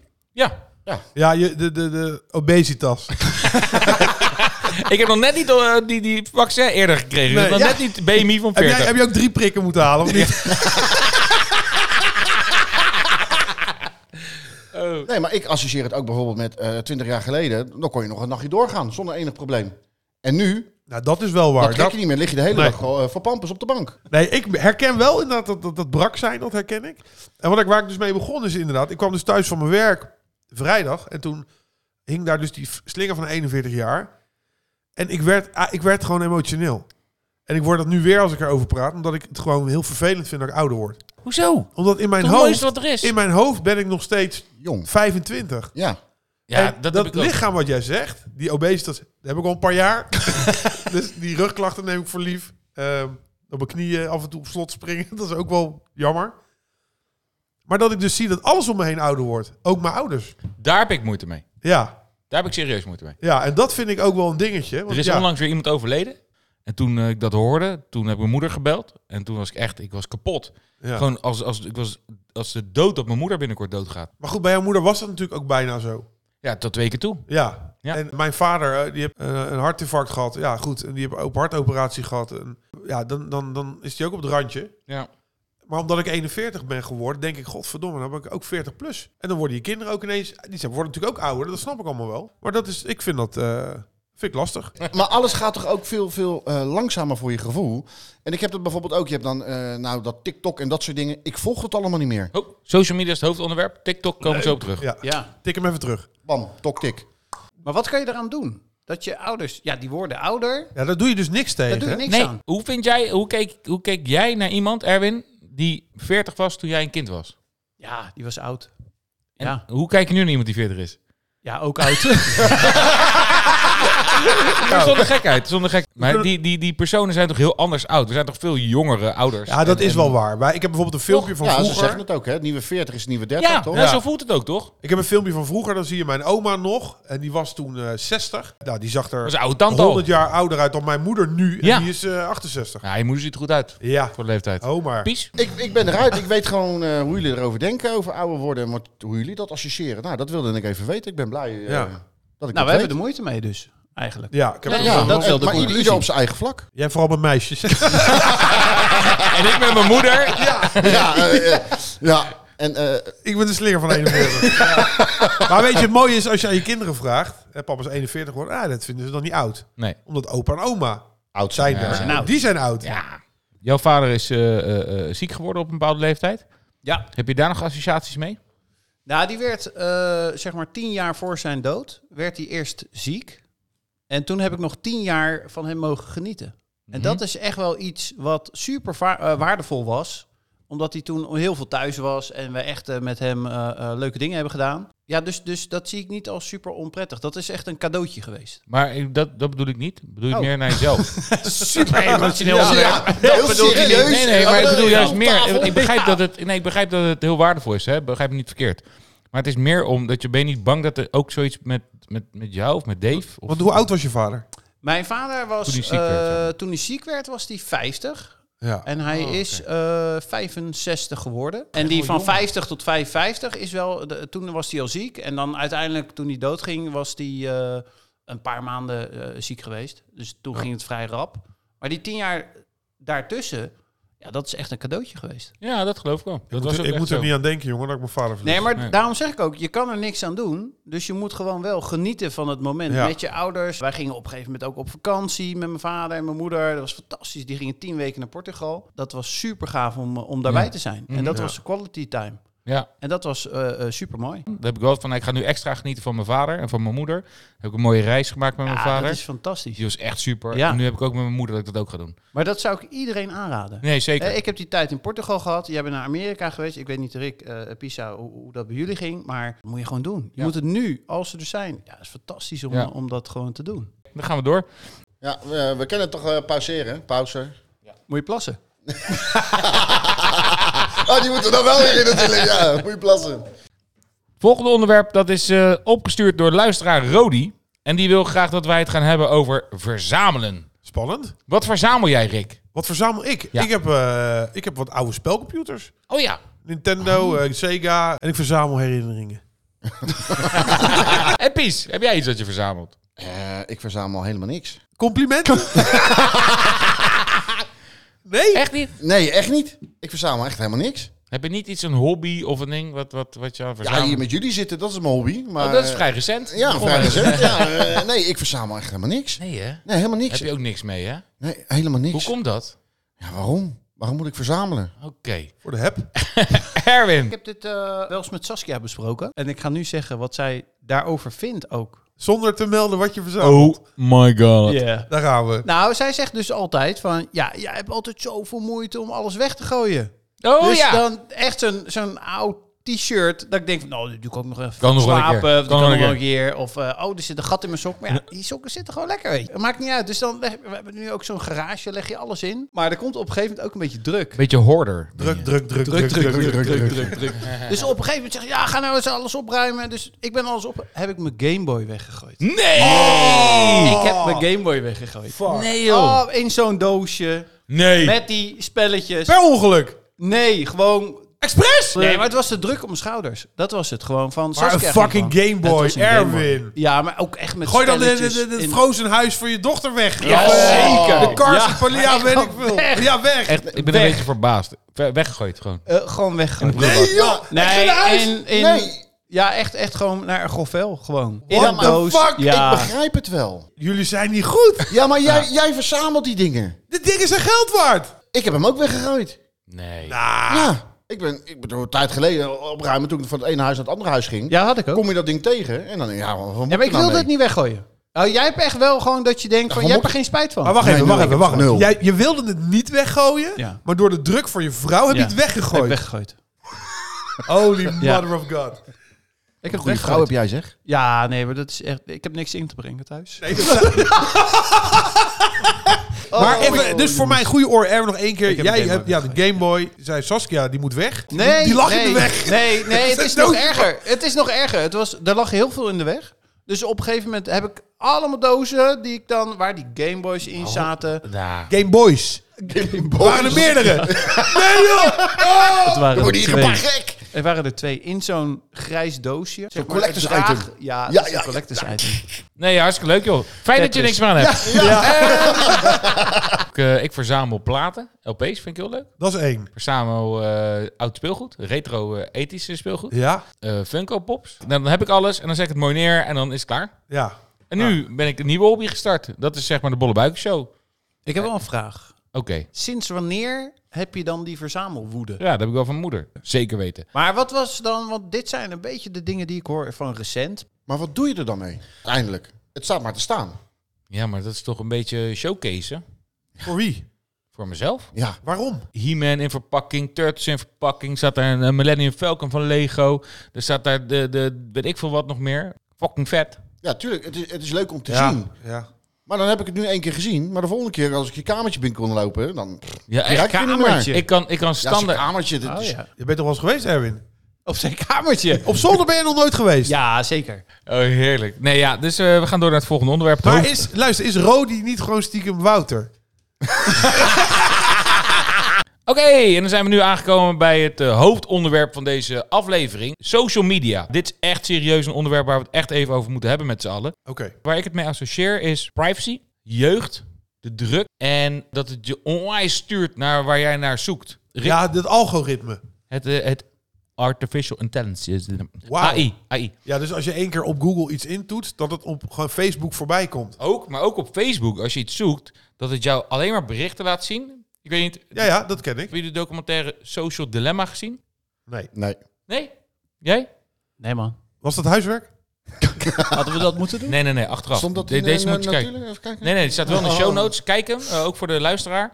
Speaker 3: Ja,
Speaker 4: Ja, je, de, de, de obesitas.
Speaker 3: Ik heb nog net niet eh, die, die vaccin eerder gekregen.
Speaker 4: Nee,
Speaker 3: ik heb nog
Speaker 4: ja.
Speaker 3: net niet BMI van
Speaker 4: Heb,
Speaker 3: 40.
Speaker 4: jij, heb je ook drie prikken moeten halen? Of niet?
Speaker 2: Nee, maar ik associeer het ook bijvoorbeeld met eh 20 jaar geleden. Dan kon je nog een nachtje doorgaan zonder enig probleem. En nu,
Speaker 4: Nou, dat is wel waar.
Speaker 2: dat trek
Speaker 4: Dat,
Speaker 2: je niet meer. Lig je de hele
Speaker 4: Nee.
Speaker 2: dag gewoon, eh, voor pampers op de bank.
Speaker 4: nee, ik herken wel inderdaad dat, dat, dat brak zijn, dat herken ik. En wat ik, waar ik dus mee begon is inderdaad, ik kwam dus thuis van mijn werk vrijdag. En toen hing daar dus die f- slinger van 41 jaar. En ik werd, ah, ik werd gewoon emotioneel. En ik word dat nu weer als ik erover praat, omdat ik het gewoon heel vervelend vind dat ik ouder word.
Speaker 3: Hoezo?
Speaker 4: Omdat in mijn,
Speaker 3: Het mooiste
Speaker 4: hoofd,
Speaker 3: wat er is.
Speaker 4: in mijn hoofd ben ik nog steeds
Speaker 2: Jong.
Speaker 4: 25.
Speaker 2: Ja.
Speaker 3: ja,
Speaker 4: En
Speaker 3: dat, heb ik ook.
Speaker 4: lichaam wat jij zegt, die obesitas, dat heb ik al een paar jaar. dus die rugklachten neem ik voor lief. Ehm, op mijn knieën af en toe op slot springen, dat is ook wel jammer. Maar dat ik dus zie dat alles om me heen ouder wordt. Ook mijn ouders.
Speaker 3: Daar heb ik moeite mee.
Speaker 4: Ja,
Speaker 3: Daar heb ik serieus moeite mee.
Speaker 4: ja en dat vind ik ook wel een dingetje. Want
Speaker 3: Er is
Speaker 4: ja,
Speaker 3: onlangs weer iemand overleden. En toen eh, ik dat hoorde, toen heb ik mijn moeder gebeld. En toen was ik echt, ik was kapot.
Speaker 4: ja.
Speaker 3: Gewoon als, als, ik was, als de dood dat mijn moeder binnenkort doodgaat.
Speaker 4: Maar goed, bij jouw moeder was dat natuurlijk ook bijna zo.
Speaker 3: Ja, tot twee keer toe.
Speaker 4: Ja.
Speaker 3: Ja.
Speaker 4: En mijn vader, eh, die heeft eh, een hartinfarct gehad. Ja, goed. En die heeft ook hartoperatie gehad. En, ja, dan, dan, dan is die ook op het randje.
Speaker 3: Ja.
Speaker 4: Maar omdat ik 41 ben geworden, denk ik, godverdomme, dan ben ik ook 40 plus. En dan worden je kinderen ook ineens, die zijn, worden natuurlijk ook ouder, dat snap ik allemaal wel. Maar dat is, ik vind dat, eh, vind ik lastig.
Speaker 2: Maar alles gaat toch ook veel, veel eh, langzamer voor je gevoel. En ik heb dat bijvoorbeeld ook. Je hebt dan eh, nou, dat TikTok en dat soort dingen. Ik volg het allemaal niet meer.
Speaker 3: Oh, social media is het hoofdonderwerp. TikTok komen we zo op terug.
Speaker 4: Ja,
Speaker 1: Ja,
Speaker 4: tik hem even terug.
Speaker 2: Bam, tok, tik.
Speaker 1: maar wat kan je eraan doen? Dat je ouders... Ja, die worden ouder.
Speaker 4: Ja, daar doe je dus niks tegen.
Speaker 1: Daar doe je niks
Speaker 3: Nee,
Speaker 1: aan.
Speaker 3: hoe vind jij, hoe keek, hoe keek jij naar iemand, Erwin, die 40 was toen jij een kind was?
Speaker 1: Ja, die was oud.
Speaker 3: En
Speaker 1: Ja.
Speaker 3: hoe kijk je nu naar iemand die 40 is?
Speaker 1: Ja, ook oud. Nou,
Speaker 3: Maar zonder gekheid, zonder gek. Maar
Speaker 4: kunnen-
Speaker 3: die, die, die personen zijn toch heel anders oud? Er zijn toch veel jongere ouders?
Speaker 4: Ja, dat
Speaker 3: En-
Speaker 4: is
Speaker 3: en-
Speaker 4: wel waar. Maar ik heb bijvoorbeeld een filmpje van
Speaker 2: ja, ze
Speaker 4: vroeger.
Speaker 2: zeggen het ook, hè? Het nieuwe 40 is het nieuwe 30,
Speaker 3: Ja,
Speaker 2: toch?
Speaker 3: nou, zo voelt het ook, toch?
Speaker 4: Ik heb een filmpje van vroeger, dan zie je mijn oma nog. En die was toen eh, 60. Nou, die zag
Speaker 3: Dat is
Speaker 4: er
Speaker 3: een oude tante al.
Speaker 4: 100 jaar ouder uit dan mijn moeder nu. En
Speaker 3: Ja.
Speaker 4: die is eh, 68.
Speaker 3: Ja, je moeder ziet er goed uit
Speaker 4: Ja,
Speaker 3: voor de leeftijd.
Speaker 4: oh maar.
Speaker 3: Pies?
Speaker 2: Ik, ik ben eruit. Ik weet gewoon eh, hoe jullie erover denken, over ouder worden. en wat- hoe jullie dat associëren. Nou, dat wilde ik even weten. Ik ben blij eh,
Speaker 4: Ja.
Speaker 2: dat ik
Speaker 1: nou, we
Speaker 2: dat
Speaker 1: hebben
Speaker 2: weet.
Speaker 1: er moeite mee dus, eigenlijk.
Speaker 4: Ja, ik heb
Speaker 1: Ja,
Speaker 4: er
Speaker 1: ja,
Speaker 4: wel-
Speaker 1: dat- wel de
Speaker 2: maar
Speaker 1: conclusie.
Speaker 2: ieder op zijn eigen vlak.
Speaker 4: Jij vooral met meisjes.
Speaker 3: En ik met mijn moeder.
Speaker 2: ja, eh, eh, ja. En eh,
Speaker 4: Ik ben de slinger van 41. Ja. Maar weet je, het mooie is als je aan je kinderen vraagt... Hè, papa is 41 geworden, ah, dat vinden ze dan niet oud.
Speaker 3: Nee.
Speaker 4: Omdat opa en oma
Speaker 2: oud zijn.
Speaker 4: zijn
Speaker 3: Ja,
Speaker 4: daar.
Speaker 3: zijn
Speaker 1: oud.
Speaker 4: Die zijn oud.
Speaker 3: Ja. Jouw vader is eh, eh, eh, ziek geworden op een bepaalde leeftijd.
Speaker 1: Ja.
Speaker 3: Heb je daar nog associaties mee?
Speaker 1: Nou, die werd eh, zeg maar tien jaar voor zijn dood, werd hij eerst ziek. En toen heb ik nog tien jaar van hem mogen genieten. En dat is echt wel iets wat super va- eh, waardevol was. Omdat hij toen heel veel thuis was en we echt eh, met hem eh, eh, leuke dingen hebben gedaan. Ja, dus, dus dat zie ik niet als super onprettig. Dat is echt een cadeautje geweest.
Speaker 3: Maar eh, dat, dat bedoel ik niet. Bedoel ik
Speaker 1: Oh.
Speaker 3: meer naar jezelf.
Speaker 1: Super emotioneel.
Speaker 2: Ja, ja, heel serieus.
Speaker 3: Nee, nee, maar ik
Speaker 2: Ja,
Speaker 3: bedoel
Speaker 2: ja,
Speaker 3: juist
Speaker 2: op
Speaker 3: meer.
Speaker 2: tafel.
Speaker 3: Ik begrijp dat het, nee, ik begrijp dat het heel waardevol is. Hè? Begrijp me niet verkeerd. Maar het is meer om dat je ben je niet bang dat er ook zoiets met, met, met jou of met Dave. Of,
Speaker 4: Want hoe oud was je vader?
Speaker 1: Mijn vader was, eh,
Speaker 3: Toen hij
Speaker 1: toen hij
Speaker 3: ziek werd,
Speaker 1: ziek werd, was hij 50.
Speaker 4: Ja.
Speaker 1: En hij
Speaker 4: Oh,
Speaker 1: is
Speaker 4: oké.
Speaker 1: eh, 65 geworden. En die van 50 tot 55 is wel. de- toen was hij al ziek. En dan uiteindelijk, toen hij doodging, was hij eh, een paar maanden eh, ziek geweest. Dus toen ging het vrij rap. Maar die tien jaar daartussen, ja, dat is echt een cadeautje geweest.
Speaker 3: Ja, dat geloof ik wel. Dat was
Speaker 4: Ik,
Speaker 3: ook
Speaker 4: ik
Speaker 3: echt
Speaker 4: moet
Speaker 3: zo.
Speaker 4: er niet aan denken, jongen, dat ik mijn vader verlies.
Speaker 1: Nee, maar
Speaker 3: Dus- Nee.
Speaker 1: daarom zeg ik ook, je kan er niks aan doen. Dus je moet gewoon wel genieten van het moment
Speaker 4: Ja.
Speaker 1: met je ouders. Wij gingen op een gegeven moment ook op vakantie met mijn vader en mijn moeder. Dat was fantastisch. Die gingen tien weken naar Portugal. Dat was super gaaf om, eh, om daarbij
Speaker 3: Ja.
Speaker 1: te zijn.
Speaker 3: Mhm.
Speaker 1: En dat
Speaker 4: Ja.
Speaker 1: was quality time.
Speaker 3: Ja,
Speaker 1: En dat was eh, super mooi.
Speaker 3: daar heb ik wel van. Ik ga nu extra genieten van mijn vader en van mijn moeder. Heb ik een mooie reis gemaakt met mijn vader.
Speaker 1: dat is fantastisch.
Speaker 3: Die was echt super.
Speaker 1: Ja.
Speaker 3: En nu heb ik ook met mijn moeder dat ik dat ook ga doen.
Speaker 1: Maar dat zou ik iedereen aanraden.
Speaker 3: Nee, zeker.
Speaker 1: Eh, ik heb die tijd in Portugal gehad. Jij bent naar Amerika geweest. Ik weet niet, Rick, eh Pisa, hoe, hoe dat bij jullie ging. Maar dat moet je gewoon doen. Je
Speaker 3: Ja.
Speaker 1: moet het nu, als ze er zijn. Ja, dat is fantastisch om, eh,
Speaker 3: Ja.
Speaker 1: om dat gewoon te doen.
Speaker 3: Dan gaan we door.
Speaker 2: Ja, we, we kennen het toch eh, pauzeren, pauze.
Speaker 1: Moet je plassen.
Speaker 2: Oh, die moeten dan wel weer in natuurlijk. Ja, moet je plassen.
Speaker 3: Volgende onderwerp, dat is eh, opgestuurd door luisteraar Rodi. En die wil graag dat wij het gaan hebben over verzamelen.
Speaker 4: Spannend.
Speaker 3: Wat verzamel jij, Rick?
Speaker 4: Wat verzamel ik?
Speaker 3: Ja.
Speaker 4: Ik, heb, eh, ik heb wat oude spelcomputers.
Speaker 3: Oh ja.
Speaker 4: Nintendo, eh, Sega. En ik verzamel herinneringen.
Speaker 3: En Pies, Ah, heb jij iets dat je verzamelt?
Speaker 2: Eh, ik verzamel helemaal niks.
Speaker 4: Complimenten. nee.
Speaker 3: Echt niet?
Speaker 2: Nee, echt niet. Ik verzamel echt helemaal niks.
Speaker 3: Heb je niet iets, een hobby of een ding wat, wat, wat je aan
Speaker 2: Ja,
Speaker 3: verzamelt?
Speaker 2: hier met jullie zitten, dat is mijn hobby. Maar,
Speaker 3: Oh, dat is vrij recent.
Speaker 2: eh, Ja,
Speaker 3: Begon
Speaker 2: vrij
Speaker 3: met-
Speaker 2: gezegd. Ja, eh, nee, ik verzamel echt helemaal niks.
Speaker 3: Nee hè?
Speaker 2: Nee, helemaal
Speaker 3: Heb
Speaker 2: niks.
Speaker 3: je ook niks mee hè?
Speaker 2: Nee, helemaal
Speaker 3: Hoe
Speaker 2: niks.
Speaker 3: komt dat?
Speaker 2: Ja, waarom? Waarom moet ik verzamelen?
Speaker 3: Oké.
Speaker 4: Voor de heb.
Speaker 1: Ik
Speaker 3: Erwin.
Speaker 1: heb dit eh, wel eens met Saskia besproken. En ik ga nu zeggen wat zij daarover vindt ook.
Speaker 4: Zonder te melden wat je verzamelt.
Speaker 3: my god.
Speaker 4: Daar gaan we.
Speaker 1: Nou, zij zegt dus altijd van... Ja, jij hebt altijd zoveel moeite om alles weg te gooien.
Speaker 3: Oh
Speaker 1: dus
Speaker 3: ja.
Speaker 1: dan echt zo'n zo'n oud t-shirt. Dat ik denk van, nou, dat doe ik ook nog even
Speaker 3: Kan nog wel een
Speaker 1: slapen.
Speaker 3: keer.
Speaker 1: dat
Speaker 3: Kan
Speaker 1: kan
Speaker 3: nog
Speaker 1: nog wel
Speaker 3: een
Speaker 1: een keer. Of, eh, oh, er zit een gat in mijn sok. Maar ja, die sokken zitten gewoon lekker, weet je. Dat maakt niet uit. Dus dan, leg- we hebben nu ook zo'n garage, leg je alles in. Maar er komt op een gegeven moment ook een beetje druk.
Speaker 3: Beetje hoorder.
Speaker 4: Druk, druk, druk, druk, druk, druk, druk,
Speaker 1: Dus op een gegeven moment zeg je, ja, ga nou eens alles opruimen. Dus ik ben alles op... Heb ik mijn Gameboy weggegooid.
Speaker 3: Nee!
Speaker 2: Oh!
Speaker 1: Ik heb mijn Gameboy weggegooid.
Speaker 3: Nee
Speaker 1: Oh, in zo'n doosje.
Speaker 3: Nee.
Speaker 1: Met die spelletjes.
Speaker 4: Per ongeluk.
Speaker 1: Nee, gewoon...
Speaker 4: Express.
Speaker 1: Nee, maar het was te druk om mijn schouders. Dat was het gewoon van...
Speaker 4: Maar een
Speaker 1: Saskia ging
Speaker 4: fucking
Speaker 1: gewoon-
Speaker 4: Game Boy,
Speaker 1: Het was een Game Boy.
Speaker 4: Erwin.
Speaker 1: Ja, maar ook echt met
Speaker 4: Gooi dan de-
Speaker 1: spelletjes
Speaker 4: de- de- het
Speaker 1: in-
Speaker 4: frozen huis voor je dochter weg.
Speaker 1: Ja,
Speaker 4: Of, eh,
Speaker 1: zeker.
Speaker 4: De kars,
Speaker 1: Ja.
Speaker 4: ja, ja, weet ik veel.
Speaker 1: Weg.
Speaker 4: Ja, weg.
Speaker 3: Echt, ik ben een
Speaker 1: Weg.
Speaker 3: beetje verbaasd. Ver- Weggegooid gewoon.
Speaker 1: Eh, gewoon weggegooid.
Speaker 4: Nee,
Speaker 2: Ah,
Speaker 4: joh.
Speaker 1: Nee,
Speaker 4: Echt in huis?
Speaker 1: in, in,
Speaker 2: Nee.
Speaker 1: Ja, echt, echt gewoon naar een grofvel. Gewoon. In
Speaker 2: What
Speaker 1: een
Speaker 2: the
Speaker 1: doos.
Speaker 2: fuck?
Speaker 1: Ja.
Speaker 2: Ik begrijp het wel.
Speaker 4: Jullie zijn niet goed.
Speaker 2: Ja, maar jij, jij verzamelt die dingen.
Speaker 4: Dit ding is zijn geld waard.
Speaker 2: Ik heb hem ook weggegooid.
Speaker 3: Nee.
Speaker 2: Nou,
Speaker 1: Ah.
Speaker 2: Ja. Ik ben, ik bedoel, een tijd geleden opruimen toen ik van het ene huis naar het andere huis ging.
Speaker 1: ja, had ik ook.
Speaker 2: Kom je dat ding tegen en dan, ja, wat moet
Speaker 1: ja, maar
Speaker 2: nou
Speaker 1: ik wilde
Speaker 2: mee?
Speaker 1: het niet weggooien. Oh, jij hebt echt wel gewoon dat je denkt van,
Speaker 2: gewoon
Speaker 1: jij hebt er
Speaker 2: moet-
Speaker 1: geen spijt van.
Speaker 4: Maar Oh, wacht
Speaker 2: Nee,
Speaker 4: even,
Speaker 2: nul.
Speaker 4: wacht even, wacht even.
Speaker 2: Nul.
Speaker 4: Jij, je wilde het niet weggooien,
Speaker 1: Ja.
Speaker 4: maar door de druk voor je vrouw heb
Speaker 1: Ja,
Speaker 4: je het weggegooid.
Speaker 1: Heb ik weggegooid.
Speaker 4: Holy
Speaker 1: Ja.
Speaker 4: mother of God.
Speaker 1: Ik heb
Speaker 2: Goeie
Speaker 1: weggegooid.
Speaker 2: vrouw heb jij, zeg.
Speaker 1: Ja, nee, maar dat is echt... Ik heb niks in te brengen thuis.
Speaker 4: Nee, dat-
Speaker 1: Oh,
Speaker 4: maar even, dus voor mijn goede oor, Erwin, nog één keer.
Speaker 1: heb
Speaker 4: Jij
Speaker 1: een
Speaker 4: hebt
Speaker 1: Game Boy
Speaker 4: ja, de Game Boy, zei Saskia, die moet weg.
Speaker 1: Nee,
Speaker 4: die lag
Speaker 1: nee,
Speaker 4: in de weg.
Speaker 1: Nee, nee het
Speaker 4: Dat
Speaker 1: is
Speaker 4: is
Speaker 1: nog
Speaker 4: dood.
Speaker 1: erger. Het is nog erger. Het was, er lag heel veel in de weg. Dus op een gegeven moment heb ik allemaal dozen die ik dan, waar die Gameboys in zaten.
Speaker 3: Nah.
Speaker 4: Game Boys. Waren er meerdere? nee joh!
Speaker 1: Het waren
Speaker 2: Word
Speaker 1: er
Speaker 2: je hier een paar
Speaker 1: twee.
Speaker 2: gek?
Speaker 1: Er waren er twee in zo'n grijs doosje. Zo'n
Speaker 2: collectors item.
Speaker 1: Ja, dat
Speaker 2: Ja,
Speaker 1: is
Speaker 2: ja,
Speaker 1: een collectors item.
Speaker 3: Nee, hartstikke leuk joh. Fijn dat je
Speaker 1: Tetris.
Speaker 3: niks meer aan hebt. Ik, eh, ik verzamel platen. LP's vind ik heel leuk.
Speaker 4: Dat is één.
Speaker 3: Verzamel eh, oud speelgoed. Retro-ethische speelgoed.
Speaker 4: Ja?
Speaker 3: eh Funko Pops. Nou, dan heb ik alles en dan zeg ik het mooi neer en dan is het klaar.
Speaker 4: Ja.
Speaker 3: En nu ben ik een nieuwe hobby gestart. Dat is zeg maar de Bolle Buiken Show. Oké.
Speaker 1: Ik heb wel een vraag. Sinds wanneer heb je dan die verzamelwoede?
Speaker 3: Ja, dat heb ik wel van moeder. Zeker weten.
Speaker 1: Maar wat was dan, want dit zijn een beetje de dingen die ik hoor van recent.
Speaker 2: Maar wat doe je er dan mee? Eindelijk. Het staat maar te staan.
Speaker 3: Ja, maar dat is toch een beetje showcase
Speaker 4: Voor wie?
Speaker 3: voor mezelf.
Speaker 2: Ja.
Speaker 4: Waarom?
Speaker 3: He-Man in verpakking, Turtles in verpakking. Zat daar een eh, Millennium Falcon van Lego. Er zat daar de, de, weet ik veel wat nog meer. Fucking vet.
Speaker 2: Ja, tuurlijk. Het is, het is leuk om te
Speaker 4: ja.
Speaker 2: zien.
Speaker 4: Ja.
Speaker 2: Maar dan heb ik het nu één keer gezien. Maar de volgende keer als ik je kamertje binnen kon lopen, dan...
Speaker 3: Ja,
Speaker 2: Je
Speaker 3: echt
Speaker 2: ruikt er niet meer
Speaker 3: kamertje. Ik kan, ik kan
Speaker 2: Ja, als je
Speaker 3: standaard...
Speaker 2: kamertje... dat is-
Speaker 4: Je bent toch wel eens geweest, Erwin?
Speaker 1: Op zijn kamertje.
Speaker 4: Op zolder ben je nog nooit geweest.
Speaker 1: Ja, zeker.
Speaker 3: Oh, heerlijk. Nee, ja, dus eh, we gaan door naar het volgende onderwerp.
Speaker 4: Maar is, luister, is Rodi niet gewoon stiekem Wouter?
Speaker 3: Oké, en dan zijn we nu aangekomen bij het eh, hoofdonderwerp van deze aflevering. Social media. Dit is echt serieus een onderwerp waar we het echt even over moeten hebben met z'n allen.
Speaker 4: Oké.
Speaker 3: Waar ik het mee associeer is privacy, jeugd, de druk en dat het je onwijs stuurt naar waar jij naar zoekt. Rick,
Speaker 4: Ja, dat algoritme.
Speaker 3: het, eh, het artificial intelligence.
Speaker 4: Wauw.
Speaker 3: AI, AI.
Speaker 4: Ja, dus als je één keer op Google iets intoetst, dat het op gewoon Facebook voorbij komt.
Speaker 3: Ook, maar ook op Facebook, als je iets zoekt, dat het jou alleen maar berichten laat zien. Ik weet niet,
Speaker 4: Ja, ja, dat ken ik.
Speaker 3: hebben jullie de documentaire Social Dilemma gezien?
Speaker 4: Nee.
Speaker 2: Nee.
Speaker 3: Nee? Jij?
Speaker 1: Nee, man.
Speaker 4: Was dat huiswerk?
Speaker 1: Hadden we dat moeten doen?
Speaker 3: Nee, nee, nee, achteraf.
Speaker 2: Stond dat
Speaker 3: De-
Speaker 2: in
Speaker 3: Deze
Speaker 2: eh,
Speaker 3: moet je kijken.
Speaker 2: natuurlijk? Even kijken.
Speaker 3: Nee, nee, het staat wel in de show notes. Kijk hem, eh, ook voor de luisteraar.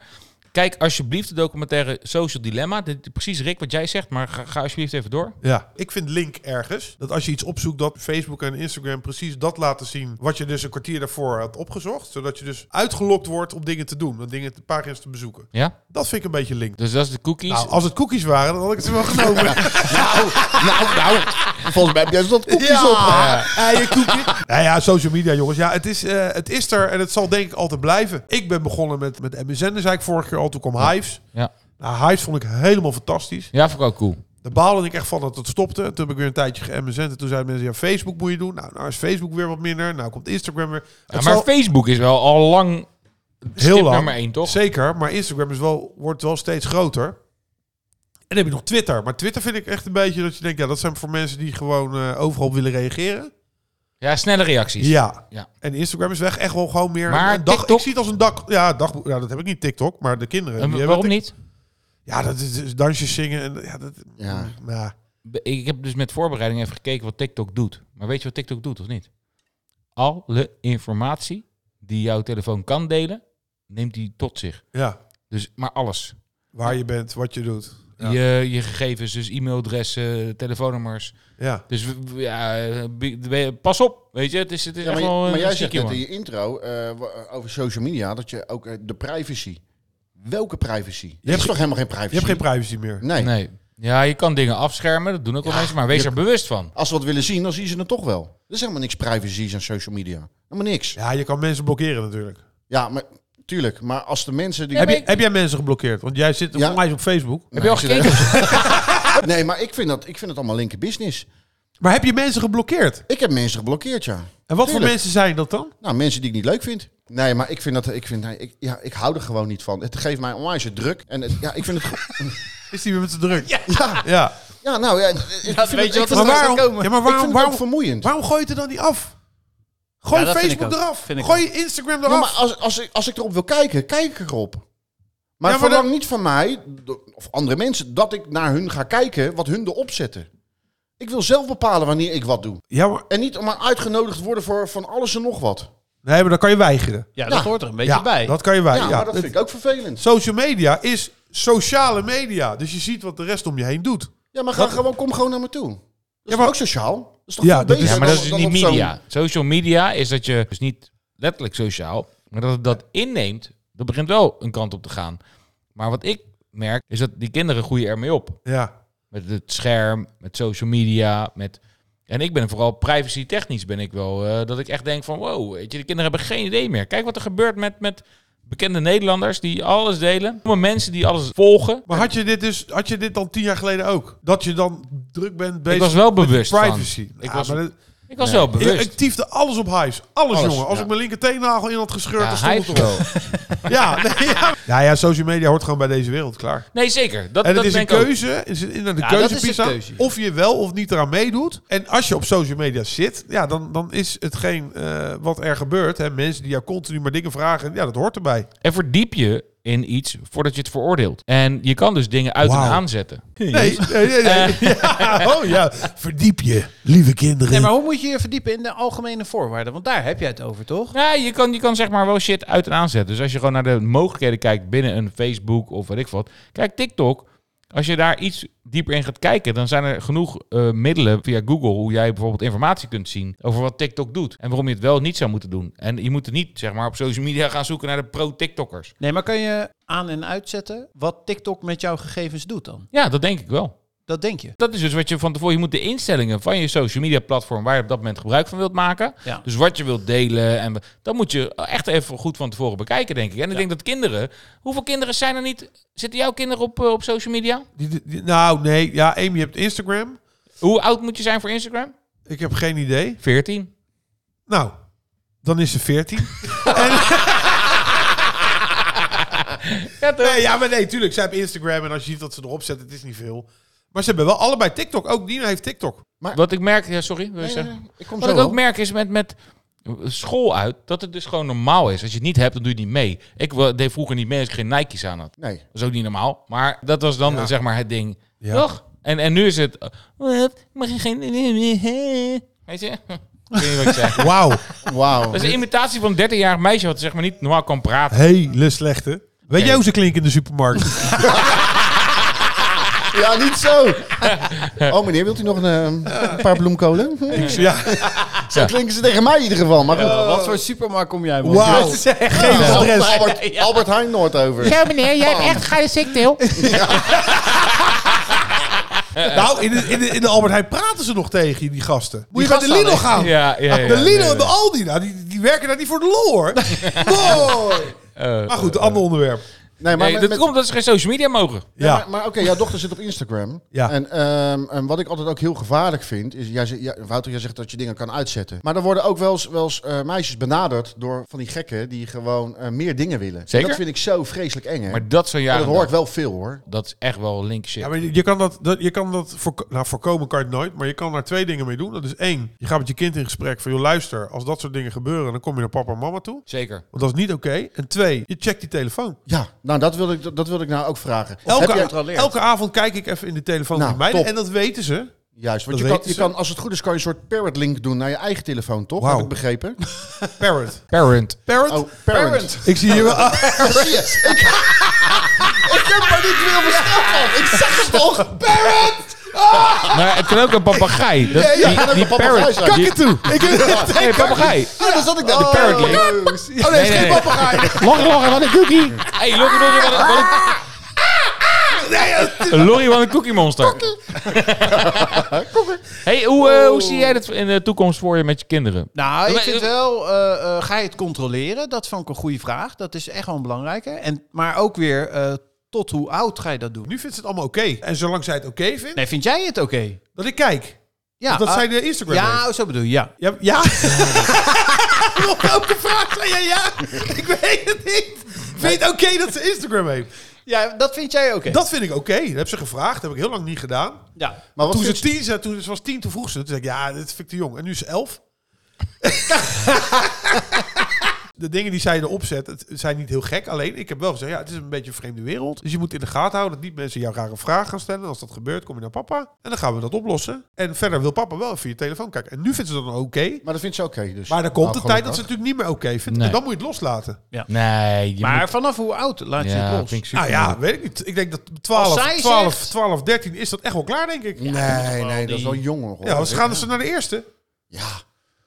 Speaker 3: Kijk alsjeblieft de documentaire Social Dilemma. Dit, precies, Rick, wat jij zegt, maar ga, ga alsjeblieft even door.
Speaker 4: Ja. Ik vind link ergens. Dat als je iets opzoekt, dat Facebook en Instagram precies dat laten zien. Wat je dus een kwartier daarvoor had opgezocht. Zodat je dus uitgelokt wordt om dingen te doen. Om dingen, te- pagina's te bezoeken.
Speaker 3: Ja?
Speaker 4: Dat vind ik een beetje link.
Speaker 3: Dus dat is de cookies.
Speaker 4: Nou, als het cookies waren, dan had ik het wel genomen.
Speaker 2: Nou, nou, volgens mij heb jij dat koekjes
Speaker 4: Ja.
Speaker 2: op.
Speaker 4: Nou ja, social media, jongens. Ja, het is, eh, het is er en het zal denk ik altijd blijven. Ik ben begonnen met, met MSN, daar zei ik vorige keer al. Toen kwam Hives.
Speaker 3: Ja.
Speaker 4: Nou, Hives vond ik helemaal fantastisch.
Speaker 3: Ja, vond ik ook cool.
Speaker 4: Daar baalde ik echt van dat het stopte. Toen heb ik weer een tijdje ge-MSN. En toen zeiden mensen, ja, Facebook moet je doen. Nou, nou is Facebook weer wat minder. Nou komt Instagram weer.
Speaker 3: Ja,
Speaker 4: Het
Speaker 3: maar
Speaker 4: zal
Speaker 3: Facebook is wel al lang
Speaker 4: heel lang.
Speaker 3: nummer één, toch?
Speaker 4: Zeker, maar Instagram is wel, wordt wel steeds groter. En dan heb je nog Twitter. Maar Twitter vind ik echt een beetje dat je denkt... Ja, dat zijn voor mensen die gewoon eh, overal op willen reageren.
Speaker 3: Ja, snelle reacties.
Speaker 4: Ja.
Speaker 3: Ja.
Speaker 4: En Instagram is weg echt wel gewoon meer.
Speaker 3: Maar
Speaker 4: een dag,
Speaker 3: TikTok?
Speaker 4: Ik zie het als een dag. Ja, dagboek. Ja, dat heb ik niet TikTok, maar de kinderen.
Speaker 3: En
Speaker 4: die hebben
Speaker 3: waarom
Speaker 4: tik-
Speaker 3: niet?
Speaker 4: Ja, dat is, is dansjes zingen en ja, dat.
Speaker 2: Ja.
Speaker 4: ja.
Speaker 3: Be- Ik heb dus met voorbereiding even gekeken wat TikTok doet. Maar weet je wat TikTok doet of niet? Alle informatie die jouw telefoon kan delen, neemt die tot zich.
Speaker 4: Ja.
Speaker 3: Dus maar alles.
Speaker 4: Waar je bent, wat je doet. Ja.
Speaker 3: Je, je gegevens, dus e-mailadressen, telefoonnummers.
Speaker 4: Ja.
Speaker 3: Dus w- w- ja, eh, bi- we- pas op, weet je. Het is, het is
Speaker 2: Ja, eh,
Speaker 3: echt
Speaker 2: maar,
Speaker 3: wel
Speaker 2: maar
Speaker 3: een
Speaker 2: jij
Speaker 3: ziek,
Speaker 2: zegt net in
Speaker 3: jongen.
Speaker 2: je intro eh, wa- over social media dat je ook eh, de privacy. Welke privacy? Je
Speaker 4: hebt
Speaker 2: hebt
Speaker 4: ge-
Speaker 2: toch helemaal geen privacy?
Speaker 4: Je hebt geen privacy meer.
Speaker 2: Nee.
Speaker 3: Nee. Ja, je kan dingen afschermen, dat doen ook wel
Speaker 2: Ja,
Speaker 3: mensen. Maar wees
Speaker 2: je-
Speaker 3: er bewust van.
Speaker 2: Als ze wat willen zien, dan zien ze het toch wel. Er is helemaal niks privacy aan social media. Helemaal niks. Ja,
Speaker 4: Ja, je kan mensen blokkeren natuurlijk.
Speaker 2: maar tuurlijk. Maar als de mensen die.
Speaker 3: Ja,
Speaker 4: Heb,
Speaker 3: maar
Speaker 4: je,
Speaker 3: ik-
Speaker 4: heb jij mensen geblokkeerd? Want jij zit
Speaker 2: Ja.
Speaker 4: volgens mij op Facebook.
Speaker 3: Heb je al gekeken?
Speaker 2: Nee, maar ik vind, dat, ik vind het allemaal linker business.
Speaker 4: Maar heb je mensen geblokkeerd?
Speaker 2: Ik heb mensen geblokkeerd, ja.
Speaker 4: En wat voor
Speaker 2: Tuurlijk.
Speaker 4: mensen zijn dat dan?
Speaker 2: Nou, mensen die ik niet leuk vind. Nee, maar ik vind dat. Ik, vind, nee, ik, ja, ik hou er gewoon niet van. Het geeft mij onwijs druk. En het- ja, ik vind het.
Speaker 4: Is die weer met te druk? Ja.
Speaker 2: Ja,
Speaker 4: ja.
Speaker 2: ja nou ja. Ik vind het, ik
Speaker 1: weet je
Speaker 2: vind het,
Speaker 1: wat
Speaker 4: Maar
Speaker 1: er
Speaker 4: waarom,
Speaker 1: komen.
Speaker 4: ja, maar
Speaker 2: ik vind
Speaker 4: waarom,
Speaker 2: het ook
Speaker 4: waarom,
Speaker 2: vermoeiend.
Speaker 4: waarom gooi je het er dan niet af? Gooi
Speaker 1: Ja, dat vind ik
Speaker 4: Facebook
Speaker 1: ook.
Speaker 4: eraf.
Speaker 1: Vind ik
Speaker 4: Gooi Instagram eraf.
Speaker 2: Ja, maar als, als, ik, als ik erop wil kijken, kijk ik erop. Maar,
Speaker 4: Ja, maar
Speaker 2: verlang
Speaker 4: dat-
Speaker 2: niet van mij, d- of andere mensen, dat ik naar hun ga kijken wat hun erop zetten. Ik wil zelf bepalen wanneer ik wat doe.
Speaker 4: ja, maar
Speaker 2: En niet maar uitgenodigd worden voor van alles en nog wat.
Speaker 4: Nee, maar dat kan je weigeren.
Speaker 1: Ja, dat
Speaker 2: Ja.
Speaker 1: hoort er een beetje bij.
Speaker 4: dat kan je
Speaker 2: Ja,
Speaker 4: weigeren. Ja,
Speaker 2: maar dat
Speaker 4: het-
Speaker 2: vind ik ook vervelend.
Speaker 4: Social media is sociale media. Dus je ziet wat de rest om je heen doet.
Speaker 2: Ja, maar ga, gewoon, kom gewoon naar me toe. Dat is
Speaker 4: maar-
Speaker 2: toch ook sociaal. Dat is toch
Speaker 4: Ja,
Speaker 2: veel
Speaker 4: dat is-
Speaker 2: beter
Speaker 3: Ja, maar
Speaker 2: dan-
Speaker 3: dat is dus
Speaker 2: dan
Speaker 3: niet
Speaker 2: op zo'n-
Speaker 3: media. Social media is dat je, dus niet letterlijk sociaal, maar dat het dat inneemt, dat begint wel een kant op te gaan. Maar wat ik merk, is dat die kinderen groeien ermee op.
Speaker 4: Ja.
Speaker 3: Met het scherm, met social media, met... En ik ben vooral privacy technisch ben ik wel, eh, dat ik echt denk van wow, weet je, de kinderen hebben geen idee meer. Kijk wat er gebeurt met, met bekende Nederlanders die alles delen. Allemaal mensen die alles volgen.
Speaker 4: Maar had je, dit dus, had je dit dan tien jaar geleden ook? Dat je dan druk bent bezig
Speaker 3: Ik was wel bewust van.
Speaker 4: privacy.
Speaker 3: Ik
Speaker 4: Ja,
Speaker 3: was-
Speaker 4: maar dat-
Speaker 3: Ik was wel bewust.
Speaker 4: ik tiefde alles op huis. Alles,
Speaker 2: Alles,
Speaker 4: jongen. Als
Speaker 2: ja.
Speaker 4: ik mijn linker teennagel in had gescheurd,
Speaker 3: Ja,
Speaker 4: dan
Speaker 3: hij
Speaker 4: stond
Speaker 3: heeft
Speaker 4: het erop.
Speaker 3: wel.
Speaker 4: Ja, nee, ja. ja, ja, social media hoort gewoon bij deze wereld, klaar.
Speaker 3: Nee, zeker. Dat,
Speaker 4: En
Speaker 3: dat
Speaker 4: het
Speaker 3: ben
Speaker 4: is een
Speaker 3: ik ook.
Speaker 4: keuze, is het inderdaad
Speaker 1: Ja,
Speaker 4: de
Speaker 1: dat is de
Speaker 4: keuzepizza,
Speaker 1: keuze.
Speaker 4: of je wel of niet eraan meedoet. En als je op social media zit, ja, dan, dan is hetgeen eh, wat er gebeurt. Hè, mensen die jou continu maar dingen vragen, ja, dat hoort erbij.
Speaker 3: En verdiep je in iets voordat je het veroordeelt. En je kan dus dingen uit en
Speaker 4: Wauw.
Speaker 3: aanzetten.
Speaker 4: Nee, nee, nee.
Speaker 3: Eh.
Speaker 4: nee. Ja, oh ja, verdiep je, lieve kinderen.
Speaker 1: Nee, maar hoe moet je je verdiepen in de algemene voorwaarden? Want daar heb jij het over, toch?
Speaker 3: Ja, je kan, je kan zeg maar wel shit uit en aanzetten. Dus als je gewoon naar de mogelijkheden kijkt binnen een Facebook of weet ik wat. Kijk, TikTok. Als je daar iets dieper in gaat kijken, dan zijn er genoeg eh, middelen via Google hoe jij bijvoorbeeld informatie kunt zien over wat TikTok doet en waarom je het wel niet zou moeten doen. En je moet er niet zeg maar op social media gaan zoeken naar de pro-TikTokkers.
Speaker 1: Nee, maar kan je aan en uitzetten wat TikTok met jouw gegevens doet dan?
Speaker 3: Ja, dat denk ik wel.
Speaker 1: Dat denk je.
Speaker 3: Dat is dus wat je van tevoren... Je moet de instellingen van je social media platform... waar je op dat moment gebruik van wilt maken...
Speaker 1: Ja.
Speaker 3: dus wat je wilt delen... En, dat moet je echt even goed van tevoren bekijken, denk ik. En ik
Speaker 1: Ja.
Speaker 3: denk dat kinderen... Hoeveel kinderen zijn er niet... Zitten jouw kinderen op, eh, op social media?
Speaker 4: Die, die- die- nou, nee. Ja, Amy, je hebt Instagram.
Speaker 3: Hoe oud moet je zijn voor Instagram?
Speaker 4: Ik heb geen idee.
Speaker 3: 14.
Speaker 4: Nou, dan is ze 14.
Speaker 3: Ja, toch?
Speaker 4: nee, ja, maar nee, tuurlijk. Zij hebben Instagram en als je ziet dat ze erop zetten, het is niet veel. Maar ze hebben wel allebei TikTok. Ook Dina heeft TikTok.
Speaker 3: Wat ik merk... Ja, sorry. Wil je
Speaker 2: Nee,
Speaker 3: zeggen?
Speaker 2: nee, nee, ik kom
Speaker 3: Wat
Speaker 2: zo
Speaker 3: ik ook
Speaker 2: wel.
Speaker 3: merk is met, met school uit dat het dus gewoon normaal is. Als je het niet hebt, dan doe je het niet mee. Ik wa- deed vroeger niet mee als ik geen Nike's aan had.
Speaker 2: Nee.
Speaker 3: Dat is ook niet normaal. Maar dat was dan
Speaker 4: Ja.
Speaker 3: zeg maar het ding.
Speaker 4: Ja.
Speaker 3: Toch? En, en nu is het. eh, Wat? Mag je geen. Weet je? Ik weet niet wat ik zeg.
Speaker 4: Wauw.
Speaker 2: Wauw.
Speaker 3: Dat is een imitatie van een 13-jarig meisje wat zeg maar niet normaal kan praten.
Speaker 4: Hele slechte. Weet jij hoe ze klinken in de supermarkt?
Speaker 2: Ja, niet zo. Oh, meneer, wilt u nog een, eh, een paar bloemkolen? Hm,
Speaker 4: ja.
Speaker 2: Zo klinken ze tegen mij in ieder geval. Maar goed.
Speaker 1: Wat voor supermarkt kom jij? man?
Speaker 2: Wauw.
Speaker 4: Dat is echt geen
Speaker 2: Ja,
Speaker 4: adres.
Speaker 2: Albert, Albert Heijn Noordhoven.
Speaker 5: Zo meneer, jij hebt echt geile ziekte,
Speaker 4: Nou, in de, in, de, in de Albert Heijn praten ze nog tegen je, die gasten. Moet je bij de
Speaker 1: gasten
Speaker 4: Lidl
Speaker 1: alleen.
Speaker 4: gaan.
Speaker 3: Ja, ja, ja.
Speaker 4: De Lidl
Speaker 3: Nee,
Speaker 4: en de Aldi, nou, die, die werken daar niet voor de lol, hoor. Mooi.
Speaker 3: eh,
Speaker 4: Maar goed, een ander onderwerp.
Speaker 2: Nee,
Speaker 3: nee,
Speaker 2: met-
Speaker 3: dat
Speaker 2: met-
Speaker 3: komt dat ze geen social media mogen.
Speaker 2: Ja.
Speaker 4: Ja.
Speaker 2: Maar, maar oké, jouw dochter zit op Instagram.
Speaker 4: Ja.
Speaker 2: En, ehm, en wat ik altijd ook heel gevaarlijk vind, is, jij, ze- ja, Wouter, jij zegt dat je dingen kan uitzetten. Maar er worden ook wel eens, wel eens eh, meisjes benaderd door van die gekken die gewoon eh, meer dingen willen. En
Speaker 3: Zeker?
Speaker 2: Dat vind ik zo vreselijk eng, hè?
Speaker 3: Maar nou. dat zo'n
Speaker 2: Maar
Speaker 3: jaar.
Speaker 2: dat hoor ik wel veel, hoor.
Speaker 3: Dat is echt wel link shit.
Speaker 4: Ja, maar je kan dat, dat, je kan dat voorko- nou, voorkomen kan je het nooit, maar je kan daar twee dingen mee doen. Dat is één, je gaat met je kind in gesprek van, joh, luister, als dat soort dingen gebeuren, dan kom je naar papa en mama toe.
Speaker 3: Zeker.
Speaker 4: Want dat is niet oké. En twee, je checkt die telefoon.
Speaker 2: Ja, nou, dat wil ik, dat, dat wil ik nou ook vragen.
Speaker 4: Elke,
Speaker 1: heb je het al geleerd?
Speaker 4: elke avond kijk ik even in de telefoon
Speaker 2: Nou,
Speaker 4: van die meiden
Speaker 2: top.
Speaker 4: en dat weten ze.
Speaker 2: Juist, want
Speaker 4: Dat
Speaker 2: je kan,
Speaker 4: weten
Speaker 2: je
Speaker 4: ze.
Speaker 2: kan, als het goed is, kan je een soort parrot link doen naar je eigen telefoon, toch?
Speaker 4: Wauw.
Speaker 2: Heb ik begrepen?
Speaker 4: Parent.
Speaker 3: Parent.
Speaker 4: Parent?
Speaker 2: Oh, parent.
Speaker 4: Ik zie hier wel...
Speaker 2: Yes. Ik, ik heb maar niet veel verstand van. Ik zeg het toch? Parrot!
Speaker 3: Maar het kan ook een papegaai. Dat-
Speaker 2: Ja, ja,
Speaker 3: die-
Speaker 2: en ook
Speaker 3: die
Speaker 2: een papegaai
Speaker 3: parent-
Speaker 2: zou-
Speaker 3: die-
Speaker 4: toe. Ik weet het.
Speaker 3: Hey, papegaai.
Speaker 2: Ja, daar zat ik net.
Speaker 3: De parrot link.
Speaker 2: Oh nee,
Speaker 3: Nee,
Speaker 2: is
Speaker 3: nee,
Speaker 2: geen
Speaker 3: nee.
Speaker 2: papegaai.
Speaker 3: Lorry, lorry, wat een cookie. Hey, lorry, lorry, wat een... Wat een... Lorry, wat een cookie monster. hey, hoe, eh, hoe zie jij dat in de toekomst voor je met je kinderen?
Speaker 1: Nou, ik
Speaker 3: Maar-
Speaker 1: vind wel, eh, eh, ga je het controleren? Dat vond ik een goede vraag. Dat is echt wel een belangrijke. En, maar ook weer, eh, tot hoe oud ga je dat doen?
Speaker 4: Nu vindt ze het allemaal oké. En zolang zij het oké vindt,
Speaker 1: Nee, vind jij het oké?
Speaker 4: dat ik kijk.
Speaker 1: Ja,
Speaker 4: dat
Speaker 1: ah,
Speaker 4: zij de Instagram heeft.
Speaker 1: ja zo bedoel je, ja.
Speaker 4: Ja. ja. Op elke vraag zei je ja. Ik weet het niet. Vind je het oké dat ze Instagram heeft?
Speaker 1: Ja, dat vind jij oké.
Speaker 4: Dat vind ik oké. Dat heb ze gevraagd. Dat heb ik heel lang niet gedaan.
Speaker 1: Ja.
Speaker 2: Maar wat
Speaker 4: Toen ze,
Speaker 2: vindt,
Speaker 4: tien, zei- toen ze was tien, toen vroeg ze. het. Toen zei ik, ja, dit vind ik te jong. En nu is ze elf. de dingen die zij erop zet, het zijn niet heel gek. Alleen, ik heb wel gezegd, ja, het is een beetje een vreemde wereld. Dus je moet in de gaten houden dat niet mensen jou rare vragen gaan stellen. Als dat gebeurt, kom je naar papa. En dan gaan we dat oplossen. En verder wil papa wel even je telefoon kijken. En nu vindt ze dat dan oké.
Speaker 2: maar dat vindt ze oké dus.
Speaker 4: Maar dan komt
Speaker 2: Nou,
Speaker 4: de tijd
Speaker 2: gelukkig.
Speaker 4: dat ze het natuurlijk niet meer oké vindt.
Speaker 3: Nee.
Speaker 4: En dan moet je het loslaten.
Speaker 3: Nee, je
Speaker 1: Maar
Speaker 3: moet-
Speaker 1: vanaf hoe oud laat je
Speaker 3: ja,
Speaker 1: het los?
Speaker 3: vind ik super.
Speaker 4: Nou ja, weet ik niet. Ik denk dat
Speaker 1: Als
Speaker 4: 12,
Speaker 1: zij
Speaker 4: 12,
Speaker 1: zegt-
Speaker 4: 12 13 is dat echt wel klaar, denk ik. Ja,
Speaker 2: Nee, nee, dat is wel jonger hoor.
Speaker 4: want ze gaan ze naar de eerste.
Speaker 2: Ja,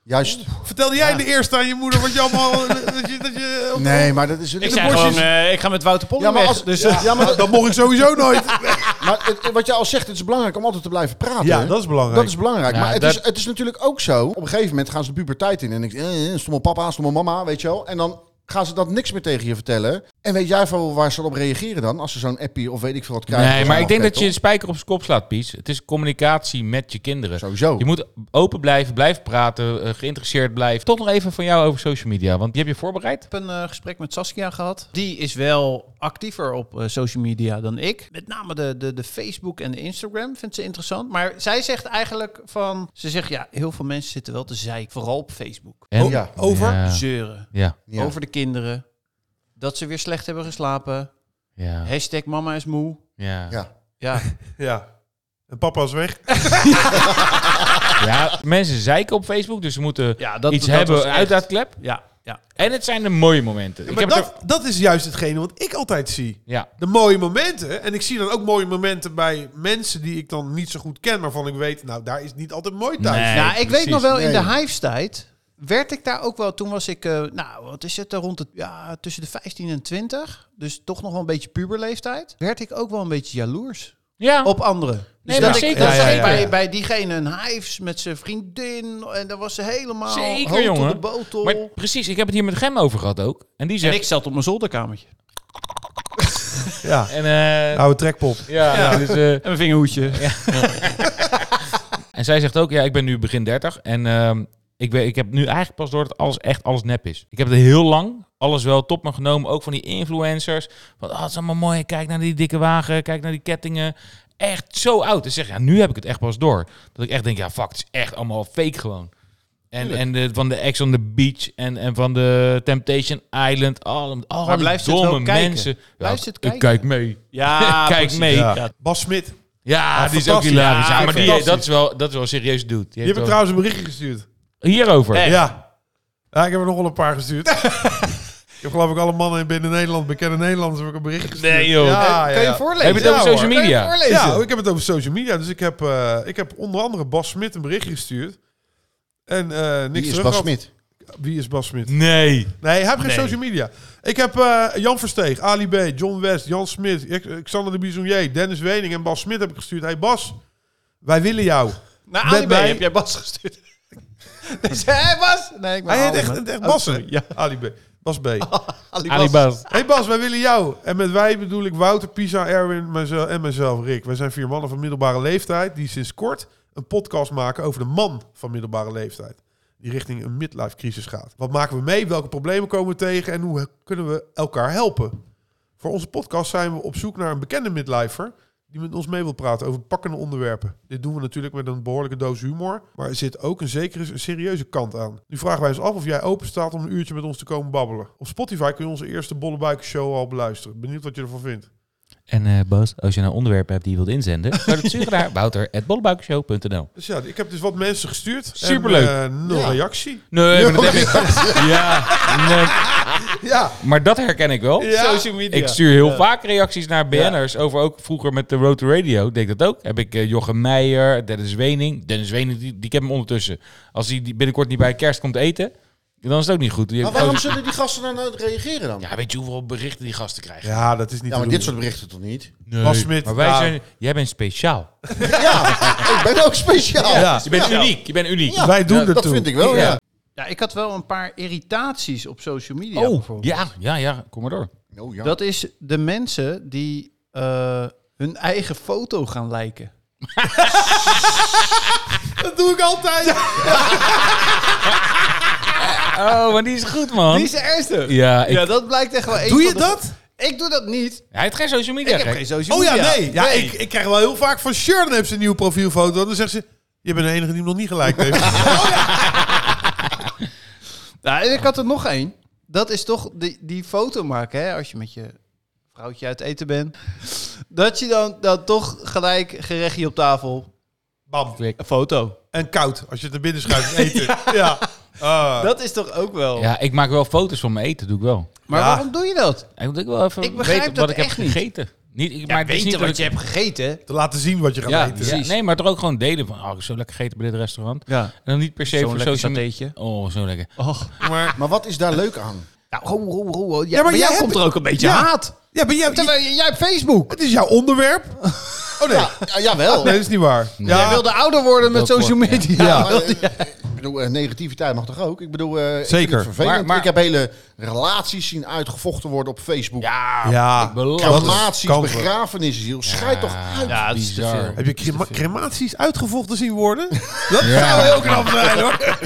Speaker 2: juist.
Speaker 4: Vertelde jij in de eerste aan je moeder wat je allemaal... dat je, dat je,
Speaker 2: Nee, maar dat is...
Speaker 1: Ik zei
Speaker 4: bosjes.
Speaker 1: gewoon, eh, ik ga met Wouter Polder
Speaker 2: Ja, maar
Speaker 1: weg.
Speaker 2: als-
Speaker 4: eh,
Speaker 1: dus,
Speaker 2: ja, maar, dat-
Speaker 4: Dat mocht ik sowieso nooit.
Speaker 2: maar het- wat jij al zegt, het is belangrijk om altijd te blijven praten.
Speaker 4: Ja,
Speaker 2: hè?
Speaker 4: dat is belangrijk.
Speaker 2: Dat is belangrijk.
Speaker 3: Ja,
Speaker 2: maar het,
Speaker 3: dat-
Speaker 2: is, het is natuurlijk ook zo. Op een gegeven moment gaan ze de puberteit in. En ik eh, eh, stomme papa, stomme mama, weet je wel. En dan gaan ze dat niks meer tegen je vertellen. En weet jij van waar ze op reageren dan? Als ze zo'n appie of weet ik veel wat krijgen.
Speaker 3: Nee,
Speaker 2: van
Speaker 3: maar
Speaker 2: zo'n
Speaker 3: ik denk dat je
Speaker 2: afkijk,
Speaker 3: een spijker op zijn kop slaat, Pies. Het is communicatie met je kinderen.
Speaker 2: toch? Sowieso.
Speaker 3: Je moet open blijven, blijf praten, eh, geïnteresseerd blijven. Toch nog even van jou over social media, want die heb je voorbereid.
Speaker 1: Ik heb een eh, gesprek met Saskia gehad. Die is wel actiever op eh, social media dan ik. Met name de, de, de Facebook en de Instagram vindt ze interessant. Maar zij zegt eigenlijk van... Ze zegt, ja, heel veel mensen zitten wel te zeiken. Vooral op Facebook.
Speaker 3: En-
Speaker 2: Oh, ja.
Speaker 4: Over?
Speaker 3: Ja.
Speaker 1: Zeuren.
Speaker 3: Ja.
Speaker 2: Ja.
Speaker 1: Over de kinderen. Dat ze weer slecht hebben geslapen.
Speaker 3: Ja.
Speaker 1: Hashtag mama is moe.
Speaker 3: Ja.
Speaker 2: Ja.
Speaker 1: Ja,
Speaker 4: Ja. En papa is weg.
Speaker 3: Ja, mensen zeiken op Facebook, dus ze moeten
Speaker 1: ja dat
Speaker 3: iets
Speaker 1: dat
Speaker 3: hebben,
Speaker 1: was
Speaker 3: een
Speaker 1: echt-
Speaker 3: uitlaatklep.
Speaker 1: Ja, ja.
Speaker 3: En het zijn de mooie momenten. Ik
Speaker 4: maar
Speaker 3: heb
Speaker 4: dat,
Speaker 3: het er-
Speaker 4: dat is juist hetgene wat ik altijd zie.
Speaker 3: ja.
Speaker 4: De mooie momenten. En ik zie dan ook mooie momenten bij mensen die ik dan niet zo goed ken. Maar van ik weet, nou daar is het niet altijd mooi thuis.
Speaker 3: Nee.
Speaker 1: nou, ik weet
Speaker 3: precies.
Speaker 1: nog wel, in
Speaker 2: Nee.
Speaker 1: de Hives-tijd werd ik daar ook wel... Toen was ik, eh, nou, wat is het, eh, rond de, ja, tussen de 15 en 20. Dus toch nog wel een beetje puberleeftijd. Werd ik ook wel een beetje jaloers
Speaker 3: Ja.
Speaker 1: op anderen.
Speaker 3: Nee, maar
Speaker 1: dat ik-
Speaker 3: zeker.
Speaker 4: Ja,
Speaker 1: dat
Speaker 4: ja,
Speaker 1: ik
Speaker 4: ja, ja.
Speaker 1: Bij, bij diegene een hives met zijn vriendin. En daar was ze helemaal
Speaker 3: Zeker,
Speaker 1: hoofd tot
Speaker 3: jongen.
Speaker 1: de botel.
Speaker 3: Maar precies, ik heb het hier met Gem over gehad ook. En die
Speaker 1: en
Speaker 3: zegt...
Speaker 1: ik zat op mijn zolderkamertje.
Speaker 4: Ja,
Speaker 3: en, eh,
Speaker 4: oude trekpop.
Speaker 3: ja, dus, eh,
Speaker 1: En mijn vingerhoedje.
Speaker 3: en zij zegt ook, ja, ik ben nu begin 30. En ehm, ik, ben, ik heb nu eigenlijk pas door dat alles echt alles nep is. Ik heb het heel lang alles wel top me genomen. Ook van die influencers. Van, ah, het is allemaal mooi. Kijk naar die dikke wagen. Kijk naar die kettingen. Echt zo oud. En zeg, ja, nu heb ik het echt pas door. Dat ik echt denk, ja, fuck, het is echt allemaal fake gewoon. En, en de, van de Ex on the Beach en, en van de Temptation Island. Al, al
Speaker 1: Maar
Speaker 3: die
Speaker 1: blijft ze het
Speaker 3: domme
Speaker 1: wel kijken?
Speaker 3: mensen. Ja,
Speaker 1: Blijft ze het
Speaker 3: ik- ik kijk mee.
Speaker 1: Ja,
Speaker 3: Kijk
Speaker 1: precies.
Speaker 3: mee.
Speaker 1: Ja.
Speaker 4: Ja. Bas Smit.
Speaker 3: Ja,
Speaker 4: Ah,
Speaker 3: die is ook
Speaker 4: fantastisch.
Speaker 3: hilarisch. Ja,
Speaker 4: Ja,
Speaker 3: maar die,
Speaker 4: fantastisch.
Speaker 3: dat, is wel, dat is wel een serieus dude. Die
Speaker 4: Die
Speaker 3: heeft
Speaker 4: heb ik
Speaker 3: wel-
Speaker 4: trouwens een berichtje gestuurd.
Speaker 3: Hierover.
Speaker 1: Echt?
Speaker 4: Ja. ja, ik heb er nog wel een paar gestuurd. ik heb geloof ik alle mannen in binnen Nederland, bekende Nederlanders, heb ik een berichtje gestuurd.
Speaker 3: Nee, joh.
Speaker 4: Ja, ja,
Speaker 1: Kan je
Speaker 4: ja.
Speaker 1: voorlezen?
Speaker 3: Heb je het over
Speaker 1: Ja,
Speaker 3: social
Speaker 1: hoor.
Speaker 3: media?
Speaker 1: Kan je voorlezen?
Speaker 4: Ja, ik heb het over social media. Dus ik heb, eh, ik heb onder andere Bas Smit een berichtje gestuurd. En eh niks
Speaker 2: Wie is
Speaker 4: terug
Speaker 2: Bas
Speaker 4: had.
Speaker 2: Smit?
Speaker 4: Wie is Bas Smit?
Speaker 3: Nee.
Speaker 4: Nee, hij heeft geen
Speaker 3: Nee.
Speaker 4: social media. Ik heb eh, Jan Versteeg, Ali B, John West, Jan Smit, Ex- Xander de Bisonnier, Dennis Wening en Bas Smit heb ik gestuurd. hey Bas, wij willen jou.
Speaker 1: Naar
Speaker 4: Met
Speaker 1: Ali B
Speaker 4: mij-
Speaker 1: heb jij Bas gestuurd. Nee, zei hij Bas? Nee, ik ben
Speaker 4: Hij heet
Speaker 1: Ali,
Speaker 4: echt,
Speaker 1: man.
Speaker 4: echt
Speaker 1: Oh,
Speaker 4: Bas, hè?
Speaker 1: sorry. Ja,
Speaker 4: Ali B. Bas B.
Speaker 1: Ali Bas.
Speaker 3: Alibas.
Speaker 4: Hey Bas, wij willen jou. En met wij bedoel ik Wouter, Pisa, Erwin mijzelf, en mezelf, Rick. Wij zijn vier mannen van middelbare leeftijd die sinds kort een podcast maken over de man van middelbare leeftijd. Die richting een midlife crisis gaat. Wat maken we mee? Welke problemen komen we tegen? En hoe kunnen we elkaar helpen? Voor onze podcast zijn we op zoek naar een bekende midlifer die met ons mee wil praten over pakkende onderwerpen. Dit doen we natuurlijk met een behoorlijke doos humor, maar er zit ook een zekere een serieuze kant aan. Nu vragen wij ons af of jij open staat om een uurtje met ons te komen babbelen. Op Spotify kun je onze eerste Bolle Buiken show al beluisteren. Benieuwd wat je ervan vindt.
Speaker 3: En eh, Bas, als je nou onderwerpen hebt die je wilt inzenden, kan je dat sturen naar wouter.bollebuikenshow.nl
Speaker 4: Dus ja, ik heb dus wat mensen gestuurd.
Speaker 3: Superleuk.
Speaker 4: En, eh, nul
Speaker 2: Ja.
Speaker 4: reactie.
Speaker 3: Nee, maar dat heb ik. Ja, nee,
Speaker 4: Ja.
Speaker 3: maar dat herken ik wel.
Speaker 4: Ja.
Speaker 1: Social media.
Speaker 3: Ik stuur heel vaak reacties naar BN'ers over ook vroeger met de Road to Radio. Deed ik dat ook. Heb ik eh, Jochem Meijer, Dennis Wening. Dennis Wening, die, die ken hem ondertussen. Als hij die binnenkort niet bij kerst komt eten, dan is het ook niet goed. Die
Speaker 2: Maar
Speaker 3: heeft
Speaker 2: waarom
Speaker 3: ook-
Speaker 2: zullen die gasten dan nooit reageren dan? Ja,
Speaker 3: Ja, weet je hoeveel berichten die gasten krijgen?
Speaker 4: Ja, dat is niet te
Speaker 2: maar
Speaker 4: doen.
Speaker 2: dit soort berichten toch niet?
Speaker 3: Nee.
Speaker 4: Bas Smit,
Speaker 3: maar wij
Speaker 4: ja.
Speaker 3: zijn, jij bent speciaal.
Speaker 2: Ja, ik ben ook speciaal.
Speaker 4: Ja.
Speaker 3: Je bent
Speaker 1: Speciaal.
Speaker 3: uniek. Je bent uniek.
Speaker 2: Ja,
Speaker 4: Dus Wij doen er
Speaker 2: dat
Speaker 4: toe.
Speaker 2: vind ik wel, ja.
Speaker 3: Ja.
Speaker 1: Ja, ik had wel een paar irritaties op social media.
Speaker 3: Oh,
Speaker 1: bijvoorbeeld.
Speaker 3: ja, ja, ja. Kom maar door.
Speaker 2: Oh, ja.
Speaker 1: Dat is de mensen die eh, hun eigen foto gaan liken.
Speaker 2: dat doe ik altijd.
Speaker 3: Oh, maar die is goed, man.
Speaker 1: Die is ernstig.
Speaker 3: Ja, ik...
Speaker 1: Ja, dat blijkt echt wel. een
Speaker 4: Doe je
Speaker 1: van de-
Speaker 4: dat?
Speaker 1: Ik doe dat niet.
Speaker 3: hij heeft geen social media.
Speaker 1: Ik heb
Speaker 3: gek.
Speaker 1: geen social
Speaker 4: Oh
Speaker 1: media.
Speaker 4: ja, nee. Ja, Ik, ik krijg wel heel vaak van Sharon heeft ze een nieuwe profielfoto. Dan zegt ze, je bent de enige die hem nog niet gelijk heeft.
Speaker 1: Nou, en ik had er nog één. Dat is toch die, die foto maken, hè? Als je met je vrouwtje uit eten bent. Dat je dan, dan toch gelijk gerechtje op tafel.
Speaker 4: Bam.
Speaker 1: Een foto.
Speaker 4: En koud, als je het naar binnen schuift eten. ja. Ah.
Speaker 1: Dat is toch ook wel...
Speaker 3: Ja, ik maak wel foto's van mijn eten, doe ik wel.
Speaker 1: Maar
Speaker 4: Ja.
Speaker 1: waarom doe je dat?
Speaker 3: Ik moet ook wel even
Speaker 1: Ik begrijp
Speaker 3: weten
Speaker 1: dat
Speaker 3: wat ik
Speaker 1: echt
Speaker 3: heb
Speaker 1: niet.
Speaker 3: gegeten. Niet, ik, maar het is niet dat ik-
Speaker 1: hebt gegeten.
Speaker 4: te laten zien wat je gaat
Speaker 3: Ja,
Speaker 4: eten.
Speaker 3: ja, nee, maar toch ook gewoon delen van, oh, ik heb zo lekker gegeten bij dit restaurant.
Speaker 1: Ja.
Speaker 3: En dan niet per se
Speaker 1: Zo'n
Speaker 3: voor
Speaker 1: lekker
Speaker 3: social
Speaker 1: satéetje.
Speaker 3: Oh, zo lekker.
Speaker 1: Och.
Speaker 4: Maar,
Speaker 2: Maar wat is daar leuk aan?
Speaker 1: Nou, ho, ho, ho, ho. Ja,
Speaker 4: maar
Speaker 1: maar
Speaker 4: jij
Speaker 1: jou
Speaker 4: hebt-
Speaker 1: komt er ook een beetje
Speaker 4: Ja.
Speaker 1: haat.
Speaker 4: ja, maar jij,
Speaker 1: Terwijl jij hebt Facebook.
Speaker 4: het is jouw onderwerp. Oh nee.
Speaker 2: Ja, jawel.
Speaker 4: Nee, dat is niet waar.
Speaker 1: Jij wilde ouder worden met
Speaker 3: Dat wordt-
Speaker 1: social media.
Speaker 2: Ja, maar, eh, ik bedoel, eh, negativiteit mag toch ook? Ik bedoel, eh, ik vind
Speaker 4: Zeker.
Speaker 2: het vervelend.
Speaker 3: Maar- maar-
Speaker 2: Ik heb hele relaties zien uitgevochten worden op Facebook.
Speaker 3: Ja,
Speaker 4: Ja.
Speaker 3: belachelijk.
Speaker 2: Crematies,
Speaker 4: Dat is kanker.
Speaker 2: begrafenissen, joh. Schijt toch uit.
Speaker 1: Ja, het is te
Speaker 3: Bizar.
Speaker 1: veel.
Speaker 4: Heb je crema- crematies uitgevochten zien worden? Dat zou heel
Speaker 1: Nou,
Speaker 4: knap zijn hoor.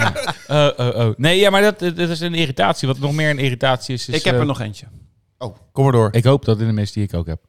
Speaker 3: Oh, oh, oh. Nee, ja, maar dat, dat is een irritatie. Wat nog meer een irritatie is, is,
Speaker 1: Ik heb
Speaker 3: eh,
Speaker 1: er nog eentje.
Speaker 4: Kom maar door.
Speaker 3: Ik hoop dat in de mensen die ik ook heb.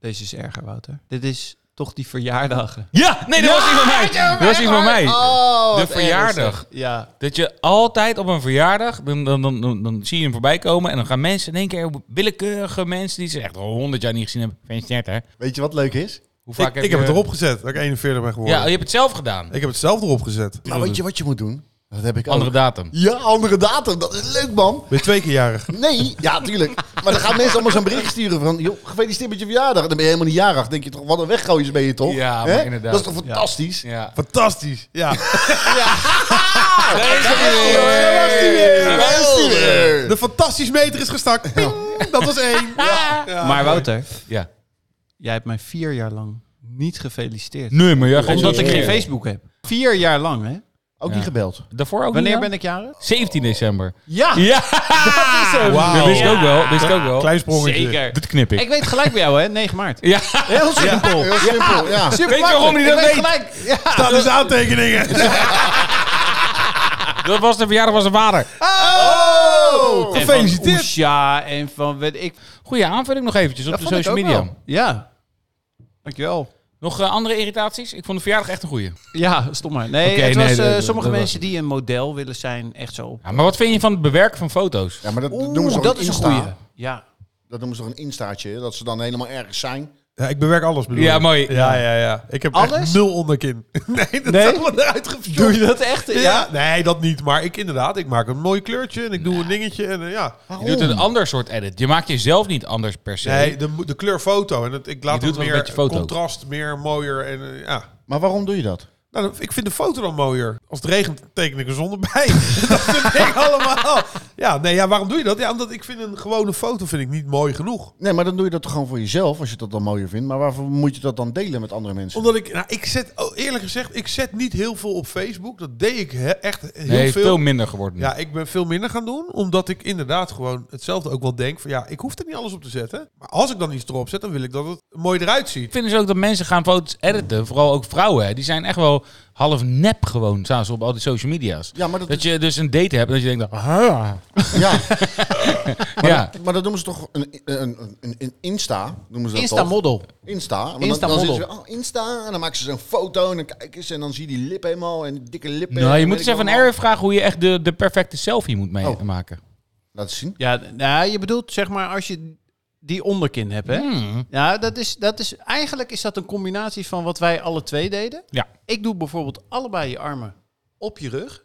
Speaker 1: Deze is erger, Wouter. Dit is toch die verjaardagen.
Speaker 3: Ja, nee, dat was die van mij. Dat was die van mij. De verjaardag.
Speaker 1: Ja.
Speaker 3: Dat je altijd op een verjaardag, dan, dan, dan, dan, dan zie je hem voorbij komen. En dan gaan mensen in één keer, willekeurige mensen die ze echt al honderd jaar niet gezien hebben. Feliciteerd hè.
Speaker 2: Weet je wat leuk is?
Speaker 3: Hoe vaak
Speaker 4: Ik, ik heb het erop gezet, dat ik 41 ben geworden.
Speaker 3: Ja, je hebt het zelf gedaan.
Speaker 4: Ik heb het zelf erop gezet.
Speaker 2: Nou, weet je wat je moet doen? Dat heb ik ook.
Speaker 3: Andere datum.
Speaker 2: Ja, andere datum. Dat is leuk, man.
Speaker 4: Ben je twee keer jarig?
Speaker 2: Nee, ja, tuurlijk. Maar dan gaan mensen allemaal zo'n bericht sturen van... joh, gefeliciteerd met je verjaardag. Dan ben je helemaal niet jarig. denk je toch, wat een weggooien ben je toch?
Speaker 3: Ja, maar
Speaker 2: Hè?
Speaker 3: inderdaad.
Speaker 2: Dat is toch fantastisch?
Speaker 3: Ja.
Speaker 4: Fantastisch. Ja.
Speaker 2: Daar was die weer. Daar was die weer.
Speaker 4: De fantastisch meter is gestakt. Ping, dat was één. Ja.
Speaker 1: maar Wouter,
Speaker 3: Ja.
Speaker 1: jij hebt mij vier jaar lang niet gefeliciteerd.
Speaker 3: Nee, maar ja,
Speaker 1: Omdat ik geen Facebook heb. Vier jaar lang, hè?
Speaker 2: Ook
Speaker 3: Ja.
Speaker 2: niet gebeld.
Speaker 3: Daarvoor ook
Speaker 1: Wanneer
Speaker 3: niet,
Speaker 1: ben ik jarig?
Speaker 3: ja? 17 december.
Speaker 1: Ja!
Speaker 3: Ja,
Speaker 1: Dat is hem.
Speaker 3: dat wist ik ook wel. Wist ik ook wel.
Speaker 4: Klein sprongetje.
Speaker 1: Zeker.
Speaker 3: Dit knip ik.
Speaker 1: Ik weet gelijk bij jou, hè? 9 maart.
Speaker 3: Ja,
Speaker 1: Heel simpel.
Speaker 2: Heel simpel, ja.
Speaker 1: Super
Speaker 3: Weet je waarom hij
Speaker 1: makkelijk.
Speaker 3: dat
Speaker 1: Ik
Speaker 3: weet?
Speaker 1: Gelijk. Ja.
Speaker 4: Staat dus aantekeningen.
Speaker 3: dat was de verjaardag van zijn vader.
Speaker 1: Oh!
Speaker 3: Gefeliciteerd.
Speaker 1: Ja, en van weet ik.
Speaker 3: Goeie aanvulling nog eventjes op
Speaker 1: Dat
Speaker 3: de
Speaker 1: vond ik
Speaker 3: social
Speaker 1: ook
Speaker 3: media.
Speaker 1: wel. Ja. Dankjewel.
Speaker 3: Nog eh, andere irritaties? Ik vond de verjaardag echt een goeie.
Speaker 1: Ja, stom maar. Nee,
Speaker 3: Oké,
Speaker 1: het
Speaker 3: nee,
Speaker 1: was
Speaker 3: dat-
Speaker 1: eh,
Speaker 3: dat-
Speaker 1: sommige
Speaker 3: dat-
Speaker 1: mensen die een model willen zijn, echt zo.
Speaker 3: Ja, maar wat vind je van het bewerken van foto's?
Speaker 2: Ja, maar dat
Speaker 1: Oeh,
Speaker 2: noemen ze toch
Speaker 1: dat
Speaker 2: een
Speaker 1: is een
Speaker 2: Insta?
Speaker 1: goeie. Ja.
Speaker 2: Dat noemen ze toch een instaatje, dat ze dan helemaal ergens zijn.
Speaker 4: Ja, ik bewerk alles, bedoel
Speaker 3: Ja,
Speaker 4: ik.
Speaker 3: mooi.
Speaker 4: Ja, ja, ja. Ik heb
Speaker 1: Alles?
Speaker 4: echt nul onderkin. Nee, dat
Speaker 1: Nee?
Speaker 4: is allemaal eruit gefjord.
Speaker 1: Doe je dat echt?
Speaker 4: Ja.
Speaker 1: Ja.
Speaker 4: nee, dat niet. Maar ik inderdaad, ik maak een mooi kleurtje en ik doe een dingetje. En eh, ja,
Speaker 3: Je doet een ander soort edit. Je maakt jezelf niet anders per se.
Speaker 4: nee, de, de kleur foto. En het, ik laat
Speaker 3: Je doet
Speaker 4: het
Speaker 3: wel een
Speaker 4: meer
Speaker 3: beetje foto.
Speaker 4: contrast, meer mooier. En eh, ja.
Speaker 2: Maar waarom doe je dat?
Speaker 4: Nou, dan- ik vind de foto dan mooier. Als het regent, teken ik een zon erbij. dat vind ik allemaal. Ja, nee, ja, waarom doe je dat? Ja, omdat ik vind een gewone foto vind ik niet mooi genoeg.
Speaker 2: Nee, maar dan doe je dat toch gewoon voor jezelf, als je dat dan mooier vindt. Maar waarvoor moet je dat dan delen met andere mensen?
Speaker 4: Omdat ik, nou, ik zet, oh, eerlijk gezegd, ik zet niet heel veel op Facebook. Dat deed ik he- echt heel
Speaker 3: Nee, veel.
Speaker 4: veel.
Speaker 3: minder geworden.
Speaker 4: Ja, ik ben veel minder gaan doen, omdat ik inderdaad gewoon hetzelfde ook wel denk van ja, ik hoef er niet alles op te zetten. Maar als ik dan iets erop zet, dan wil ik dat het mooi eruit ziet.
Speaker 3: Ik vind dus ook dat mensen gaan foto's editen, vooral ook vrouwen. Hè. Die zijn echt wel half nep gewoon, staan ze op al die social media's.
Speaker 2: Ja, maar dat,
Speaker 3: Dat je dus een date hebt en dat je denkt, ah,
Speaker 2: ja,
Speaker 3: ja.
Speaker 2: maar dat noemen ze toch een, een, een, een Insta, noemen ze dat toch?
Speaker 1: Insta-model.
Speaker 2: Insta. Want
Speaker 1: Insta
Speaker 2: dan, dan
Speaker 1: model.
Speaker 2: zitten ze, oh, Insta. En dan maken ze zo'n foto en dan kijken ze en dan zie je die lip helemaal en die dikke lippen.
Speaker 3: Nou, je
Speaker 2: en
Speaker 3: moet
Speaker 2: weet
Speaker 3: eens
Speaker 2: ik
Speaker 3: even
Speaker 2: allemaal.
Speaker 3: een R vragen hoe je echt de, de perfecte selfie moet
Speaker 2: Oh.
Speaker 3: meemaken.
Speaker 2: Laat zien.
Speaker 1: Ja, nou, je bedoelt zeg maar als je die onderkin hebt, hè?
Speaker 3: Hmm,
Speaker 1: Ja, dat is, dat is, eigenlijk is dat een combinatie van wat wij alle twee deden.
Speaker 3: Ja.
Speaker 1: Ik doe bijvoorbeeld allebei je armen op je rug.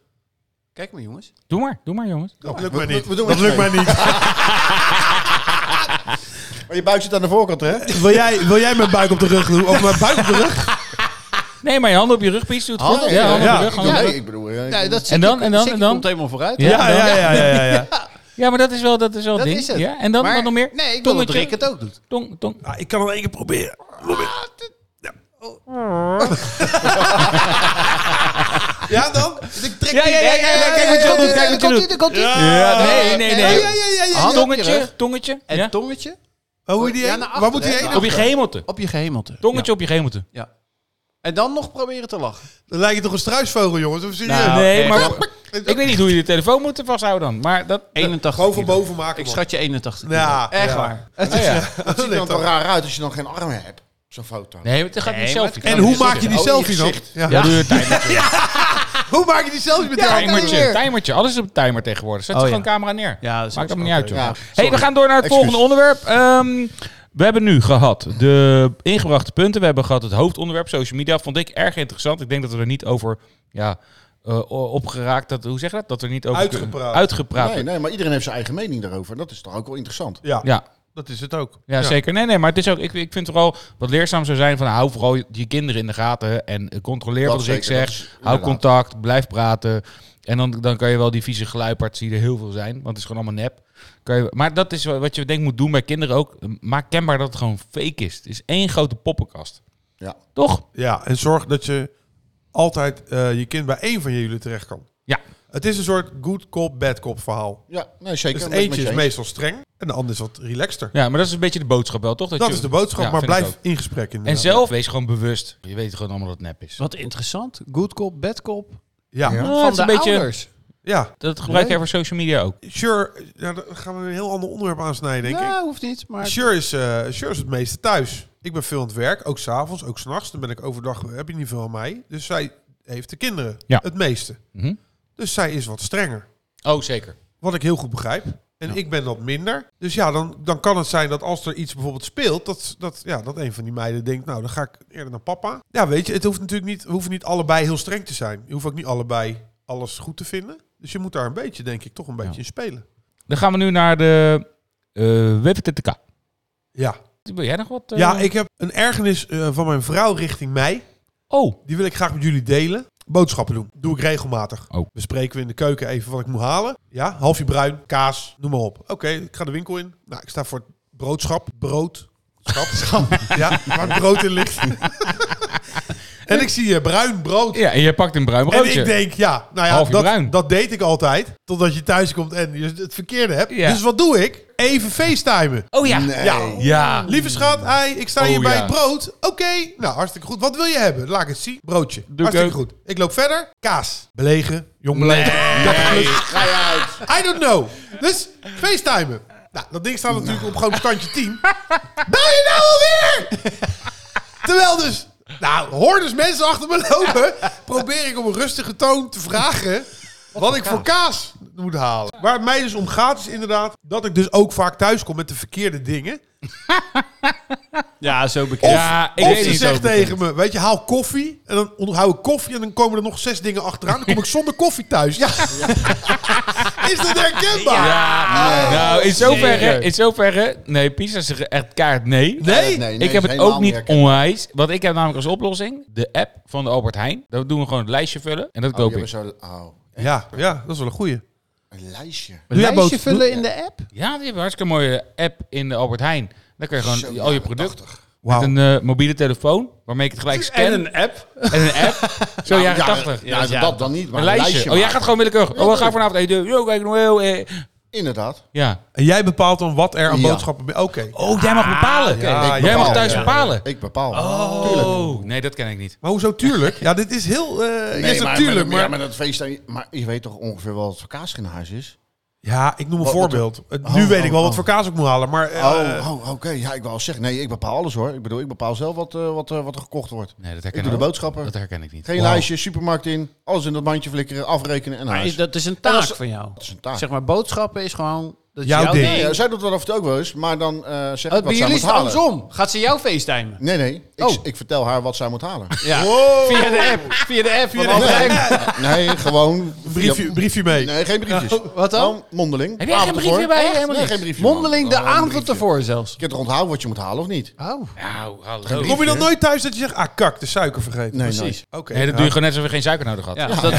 Speaker 1: Kijk maar, jongens.
Speaker 3: Doe maar, doe maar jongens.
Speaker 4: Dat
Speaker 2: lukt mij niet.
Speaker 4: dat lukt mij niet.
Speaker 2: Maar je buik zit aan de voorkant, hè?
Speaker 4: Wil jij, wil jij mijn buik op de rug doen? Of mijn buik op de rug?
Speaker 3: Nee, maar je handen op je rug, Pies, doet het goed.
Speaker 1: Handen,
Speaker 3: Ja,
Speaker 1: ja.
Speaker 3: handen op je
Speaker 2: Ja,
Speaker 3: rug. handen op je
Speaker 2: nee,
Speaker 3: rug.
Speaker 2: ik bedoel... eh, ik-
Speaker 1: Ja, dat
Speaker 3: En dan,
Speaker 1: zikkie-
Speaker 3: en dan,
Speaker 1: zikkie
Speaker 3: en dan?
Speaker 1: komt helemaal vooruit.
Speaker 3: Ja.
Speaker 4: Ja, ja, ja, ja, ja. ja.
Speaker 3: Ja, maar dat is wel, dat is wel
Speaker 1: Dat
Speaker 3: een ding.
Speaker 1: is het.
Speaker 3: Ja, en dan,
Speaker 1: Maar-
Speaker 3: dan nog meer?
Speaker 1: Nee, ik wil dat
Speaker 3: Tongetje.
Speaker 1: Rick het ook doet.
Speaker 3: Tong, tong.
Speaker 4: Ah, ik kan het één keer proberen. Ja, dan? Dus Ik trek
Speaker 3: Ja, ja, ja, ja, ja, kijk wat je doet, kijk wat je doet.
Speaker 1: komt
Speaker 4: Ja,
Speaker 3: Nee, nee,
Speaker 1: Ja, ja,
Speaker 3: nee.
Speaker 1: ja, ja, ja. Hand op je rug.
Speaker 3: Tongetje, tongetje.
Speaker 1: En
Speaker 3: ja.
Speaker 1: tongetje
Speaker 4: Oh, hoe die
Speaker 1: Ja,
Speaker 4: heen?
Speaker 1: naar achter,
Speaker 4: Waar moet hij
Speaker 1: hè?
Speaker 4: heen?
Speaker 3: Op je gehemelte.
Speaker 1: op je gehemelte.
Speaker 3: Tongetje op je gehemelte.
Speaker 1: Ja. Ja. En dan nog proberen te lachen.
Speaker 4: Dan lijkt je toch een struisvogel, jongens? Of serieus?
Speaker 3: Nou, nee,
Speaker 1: echt.
Speaker 3: maar ik weet niet hoe je de telefoon moet vasthouden dan. Maar dat...
Speaker 1: 81.
Speaker 4: Gewoon van boven maken.
Speaker 1: Ik
Speaker 4: man.
Speaker 1: schat je 81.
Speaker 4: Ja,
Speaker 1: echt
Speaker 4: ja.
Speaker 1: waar.
Speaker 3: Oh, ja.
Speaker 2: Het ziet er dan toch raar uit als je dan geen armen hebt. Zo'n foto.
Speaker 3: Nee, maar het gaat niet
Speaker 1: Nee,
Speaker 3: zelf.
Speaker 1: maar
Speaker 4: En hoe maak je
Speaker 2: zitten.
Speaker 4: die
Speaker 2: Oh, in je
Speaker 4: selfie dan?
Speaker 2: gezicht.
Speaker 4: Ja.
Speaker 3: Ja, doe je timer.
Speaker 4: Hoe maak je die selfie met jou?
Speaker 3: Timertje, timertje. Alles is op timer tegenwoordig. Zet
Speaker 1: Oh,
Speaker 3: er
Speaker 1: ja.
Speaker 3: gewoon camera neer.
Speaker 1: Ja, dat is
Speaker 3: Maakt
Speaker 1: ook
Speaker 3: allemaal niet uit, joh.
Speaker 2: Ja,
Speaker 3: hey, we gaan door naar het
Speaker 2: Excuus.
Speaker 3: volgende onderwerp. Ehm, we hebben nu gehad de ingebrachte punten. We hebben gehad het hoofdonderwerp, social media. Vond ik erg interessant. Ik denk dat we er niet over ja, eh, o- opgeraakt... Dat, hoe zeg je dat? Dat er niet over...
Speaker 4: Uitgepraat.
Speaker 3: Uitgepraat.
Speaker 2: Nee, nee, maar iedereen heeft zijn eigen mening daarover. En dat is toch ook wel interessant.
Speaker 4: Ja,
Speaker 3: Ja,
Speaker 4: dat is het ook.
Speaker 3: Ja, zeker. Nee, nee, maar het is ook, ik, ik vind het vooral wat leerzaam zou zijn van nou, hou vooral je- je kinderen in de gaten en eh, controleer
Speaker 2: Dat
Speaker 3: wat ik
Speaker 2: zeker, dat
Speaker 3: zeg.
Speaker 2: is
Speaker 3: hou
Speaker 2: inderdaad.
Speaker 3: contact, blijf praten. En dan, dan kan je wel die vieze geluiparts die er heel veel zijn, want het is gewoon allemaal nep. Kan je, maar dat is wa- wat je denk ik moet doen bij kinderen ook. Maak kenbaar dat het gewoon fake is. Het is één grote poppenkast.
Speaker 2: Ja.
Speaker 3: Toch?
Speaker 4: Ja, en zorg dat je altijd eh, je kind bij één van jullie terecht kan.
Speaker 3: Ja.
Speaker 4: Het is een soort good cop, bad cop verhaal.
Speaker 2: Ja, nee, zeker.
Speaker 4: Dus het
Speaker 2: Ben ik
Speaker 4: eentje
Speaker 2: met
Speaker 4: is
Speaker 2: je eens.
Speaker 4: meestal streng en de ander is wat relaxter.
Speaker 3: Ja, maar dat is een beetje de boodschap wel, toch?
Speaker 4: Dat
Speaker 3: je-
Speaker 4: is de boodschap,
Speaker 3: Ja,
Speaker 4: maar
Speaker 3: vind ik
Speaker 4: blijf
Speaker 3: ook.
Speaker 4: in gesprek inderdaad.
Speaker 3: En zelf, wees gewoon bewust. Je weet gewoon allemaal dat het nep is.
Speaker 1: Wat interessant. Good cop, bad cop.
Speaker 4: Ja, ja.
Speaker 3: Ja, Ah, het is een beetje,
Speaker 1: ouders.
Speaker 4: ja.
Speaker 3: Dat gebruik jij
Speaker 1: Leuk.
Speaker 3: voor social media ook.
Speaker 4: Sure, ja, dan gaan we een heel ander onderwerp aansnijden, denk ik.
Speaker 1: Nou, hoeft niet. Maar
Speaker 4: Sure is, eh, sure is het meeste thuis. Ik ben veel aan het werk, ook s'avonds, ook s'nachts. Dan ben ik overdag, eh, heb je niet veel aan mij. Dus zij heeft de kinderen,
Speaker 3: Ja.
Speaker 4: het meeste.
Speaker 3: Mhm.
Speaker 4: Dus zij is wat strenger.
Speaker 3: Oh, zeker.
Speaker 4: Wat ik heel goed begrijp. En ik ben dat minder. Dus ja, dan, dan kan het zijn dat als er iets bijvoorbeeld speelt, dat, dat, ja, dat een van die meiden denkt, nou, dan ga ik eerder naar papa. Ja, weet je, het hoeft natuurlijk niet, we hoeven niet allebei heel streng te zijn. Je hoeft ook niet allebei alles goed te vinden. Dus je moet daar een beetje, denk ik, toch een beetje
Speaker 3: Ja.
Speaker 4: in spelen.
Speaker 3: Dan gaan we nu naar de eh WWTTK.
Speaker 4: Ja.
Speaker 3: Wil jij nog wat? eh?
Speaker 4: ja, ik heb een ergernis eh, van mijn vrouw richting mij.
Speaker 3: Oh,
Speaker 4: Die wil ik graag met jullie delen. Boodschappen doen. Doe ik regelmatig.
Speaker 3: Oh.
Speaker 4: Bespreken we in de keuken even wat ik moet halen. Ja, halfje bruin, kaas, noem maar op. Oké, ik ga de winkel in. Nou, ik sta voor het broodschap. Brood. Schap. Ja, waar het brood in ligt. en ik zie eh, bruin brood.
Speaker 3: Ja, en je pakt een bruin broodje.
Speaker 4: En ik denk, ja, nou ja,
Speaker 3: Half uur bruin.
Speaker 4: dat, dat deed ik altijd. Totdat je thuis komt en je het verkeerde hebt.
Speaker 3: Ja.
Speaker 4: Dus wat doe ik? Even facetimen.
Speaker 5: Oh ja.
Speaker 4: Ja.
Speaker 3: Ja.
Speaker 4: Lieve schat, hi, ik sta
Speaker 3: Oh,
Speaker 4: hier bij
Speaker 3: ja.
Speaker 4: het brood. Oké, nou hartstikke goed. Wat wil je hebben? Laat ik het zien. Broodje. hartstikke
Speaker 3: ook.
Speaker 4: goed. Ik loop verder. Kaas. Belegen. Jong belegen. Dat gelukt. I don't know. Dus facetimen. Nou, dat ding staat natuurlijk op gewoon standje 10. Bel je nou alweer? Terwijl dus... Nou, hoor dus mensen achter me lopen. Probeer ik op een rustige toon te vragen... wat ik voor kaas moet halen. Waar het mij dus om gaat is inderdaad... dat ik dus ook vaak thuis kom met de verkeerde dingen.
Speaker 1: Ja, zo bekend.
Speaker 3: ja, ik
Speaker 4: of
Speaker 3: weet
Speaker 4: ze
Speaker 3: niet
Speaker 4: zegt
Speaker 3: zo
Speaker 4: tegen me, weet je, haal koffie. En dan onthoud ik koffie en dan komen er nog zes dingen achteraan. Dan kom ik zonder koffie thuis. Ja. Is dat herkenbaar?
Speaker 3: Ja, nou, in zoverre, in zoverre... Nee, Pisa is er echt kaart nee.
Speaker 2: Nee, nee,
Speaker 3: ik heb
Speaker 2: is
Speaker 3: het
Speaker 2: helemaal
Speaker 3: ook niet
Speaker 2: herkenbaar.
Speaker 3: onwijs. Wat ik heb namelijk als oplossing, de app van de Albert Heijn. Daar doen we gewoon het lijstje vullen en dat
Speaker 2: Oh,
Speaker 3: koop
Speaker 2: die
Speaker 3: ik.
Speaker 2: hebben zo- oh,
Speaker 4: Ja, ja, dat is wel een goeie.
Speaker 2: een lijstje.
Speaker 1: Een
Speaker 4: jij
Speaker 1: lijstje
Speaker 4: boot-
Speaker 1: vullen in de app?
Speaker 3: Ja, die hebben een hartstikke mooie app in de Albert Heijn. Daar kun je gewoon
Speaker 2: Zo,
Speaker 3: al je
Speaker 2: jaren
Speaker 3: producten...
Speaker 2: 80.
Speaker 4: Wauw.
Speaker 3: Met een eh, mobiele telefoon, waarmee ik het gelijk scan. En een,
Speaker 1: app.
Speaker 3: app. Zo jaren
Speaker 2: Nou, Ja,
Speaker 3: 80.
Speaker 2: ja,
Speaker 1: Ja,
Speaker 2: dat dan niet, maar
Speaker 3: Een
Speaker 2: een
Speaker 3: lijstje. oh, jij
Speaker 2: maken.
Speaker 3: gaat gewoon willekeurig. Oh, we gaan vanavond eten. Yo, kijk nog heel... eh.
Speaker 2: Inderdaad.
Speaker 3: Ja.
Speaker 4: En jij bepaalt dan wat er aan
Speaker 2: Ja.
Speaker 4: boodschappen... Oké.
Speaker 3: Oh, jij mag bepalen.
Speaker 4: ja,
Speaker 3: Ah, jij mag
Speaker 2: ja,
Speaker 3: thuis
Speaker 2: ja.
Speaker 3: bepalen.
Speaker 2: Ik bepaal.
Speaker 3: Oh, nee, dat ken ik niet.
Speaker 4: Maar hoezo tuurlijk? Ja, dit is heel... eh
Speaker 2: Nee,
Speaker 4: yes,
Speaker 2: maar,
Speaker 4: natuurlijk,
Speaker 2: maar,
Speaker 4: maar...
Speaker 2: ja, maar dat feest, maar je weet toch ongeveer wel wat voor kaas er in huis is?
Speaker 4: Ja, ik noem een
Speaker 2: Wat- wat-
Speaker 4: voorbeeld. Het- nu
Speaker 2: Oh,
Speaker 4: weet ik wel
Speaker 2: oh,
Speaker 4: wat
Speaker 2: oh.
Speaker 4: voor kaas ik moet halen, maar... eh,
Speaker 2: oh, oh oké. Ja, ik wil al zeggen. Nee, ik bepaal alles hoor. Ik bedoel, ik bepaal zelf wat, eh, wat, eh, wat er gekocht wordt.
Speaker 3: Nee, dat
Speaker 2: Ik
Speaker 3: herken
Speaker 2: doe de boodschappen.
Speaker 3: Dat herken ik niet.
Speaker 2: Geen lijstje, supermarkt in. Alles in dat mandje flikkeren, afrekenen en
Speaker 1: Maar
Speaker 2: huis.
Speaker 1: is- dat is een
Speaker 2: dat
Speaker 1: taak
Speaker 2: is-
Speaker 1: van jou.
Speaker 2: Dat is een taak.
Speaker 1: Zeg maar, boodschappen is gewoon... Dat is
Speaker 4: Jouw
Speaker 1: jouw
Speaker 4: ding.
Speaker 1: ding.
Speaker 2: Ja, zij doet dat af en toe ook wel eens, maar dan eh zeg
Speaker 1: Oh,
Speaker 2: ik wat
Speaker 1: bij
Speaker 2: zij
Speaker 1: jullie
Speaker 2: moet
Speaker 1: is het
Speaker 2: halen.
Speaker 1: andersom. Gaat ze jou facetimen?
Speaker 2: Nee, nee. Ik,
Speaker 1: Oh.
Speaker 2: ik vertel haar wat zij moet halen.
Speaker 1: Ja.
Speaker 4: Oh.
Speaker 1: Via de app. Via de app. van
Speaker 4: de
Speaker 1: Albert
Speaker 4: app.
Speaker 1: Heijn.
Speaker 2: nee, gewoon...
Speaker 4: briefje,
Speaker 2: via-
Speaker 4: briefje mee.
Speaker 2: Nee, geen briefjes.
Speaker 1: Oh, Wat dan?
Speaker 2: Gewoon mondeling.
Speaker 3: Heb jij geen
Speaker 2: Avond
Speaker 3: briefje
Speaker 2: ervoor.
Speaker 3: bij je?
Speaker 2: Echt?
Speaker 3: Helemaal
Speaker 2: Nee,
Speaker 3: niks.
Speaker 2: geen briefje.
Speaker 1: Mondeling de
Speaker 2: Oh, man. Gewoon een
Speaker 1: avond
Speaker 2: briefje.
Speaker 1: ervoor zelfs.
Speaker 2: Je kunt toch onthouden wat je moet halen of niet?
Speaker 1: Oh.
Speaker 3: Nou, hallo.
Speaker 4: Kom je dat nooit thuis dat je zegt, ah kak, de suiker vergeten?
Speaker 2: Nee,
Speaker 1: Precies.
Speaker 4: Oké.
Speaker 3: Nee, dat doe je gewoon net alsof je geen suiker nodig had.
Speaker 1: Ja, dat-
Speaker 4: We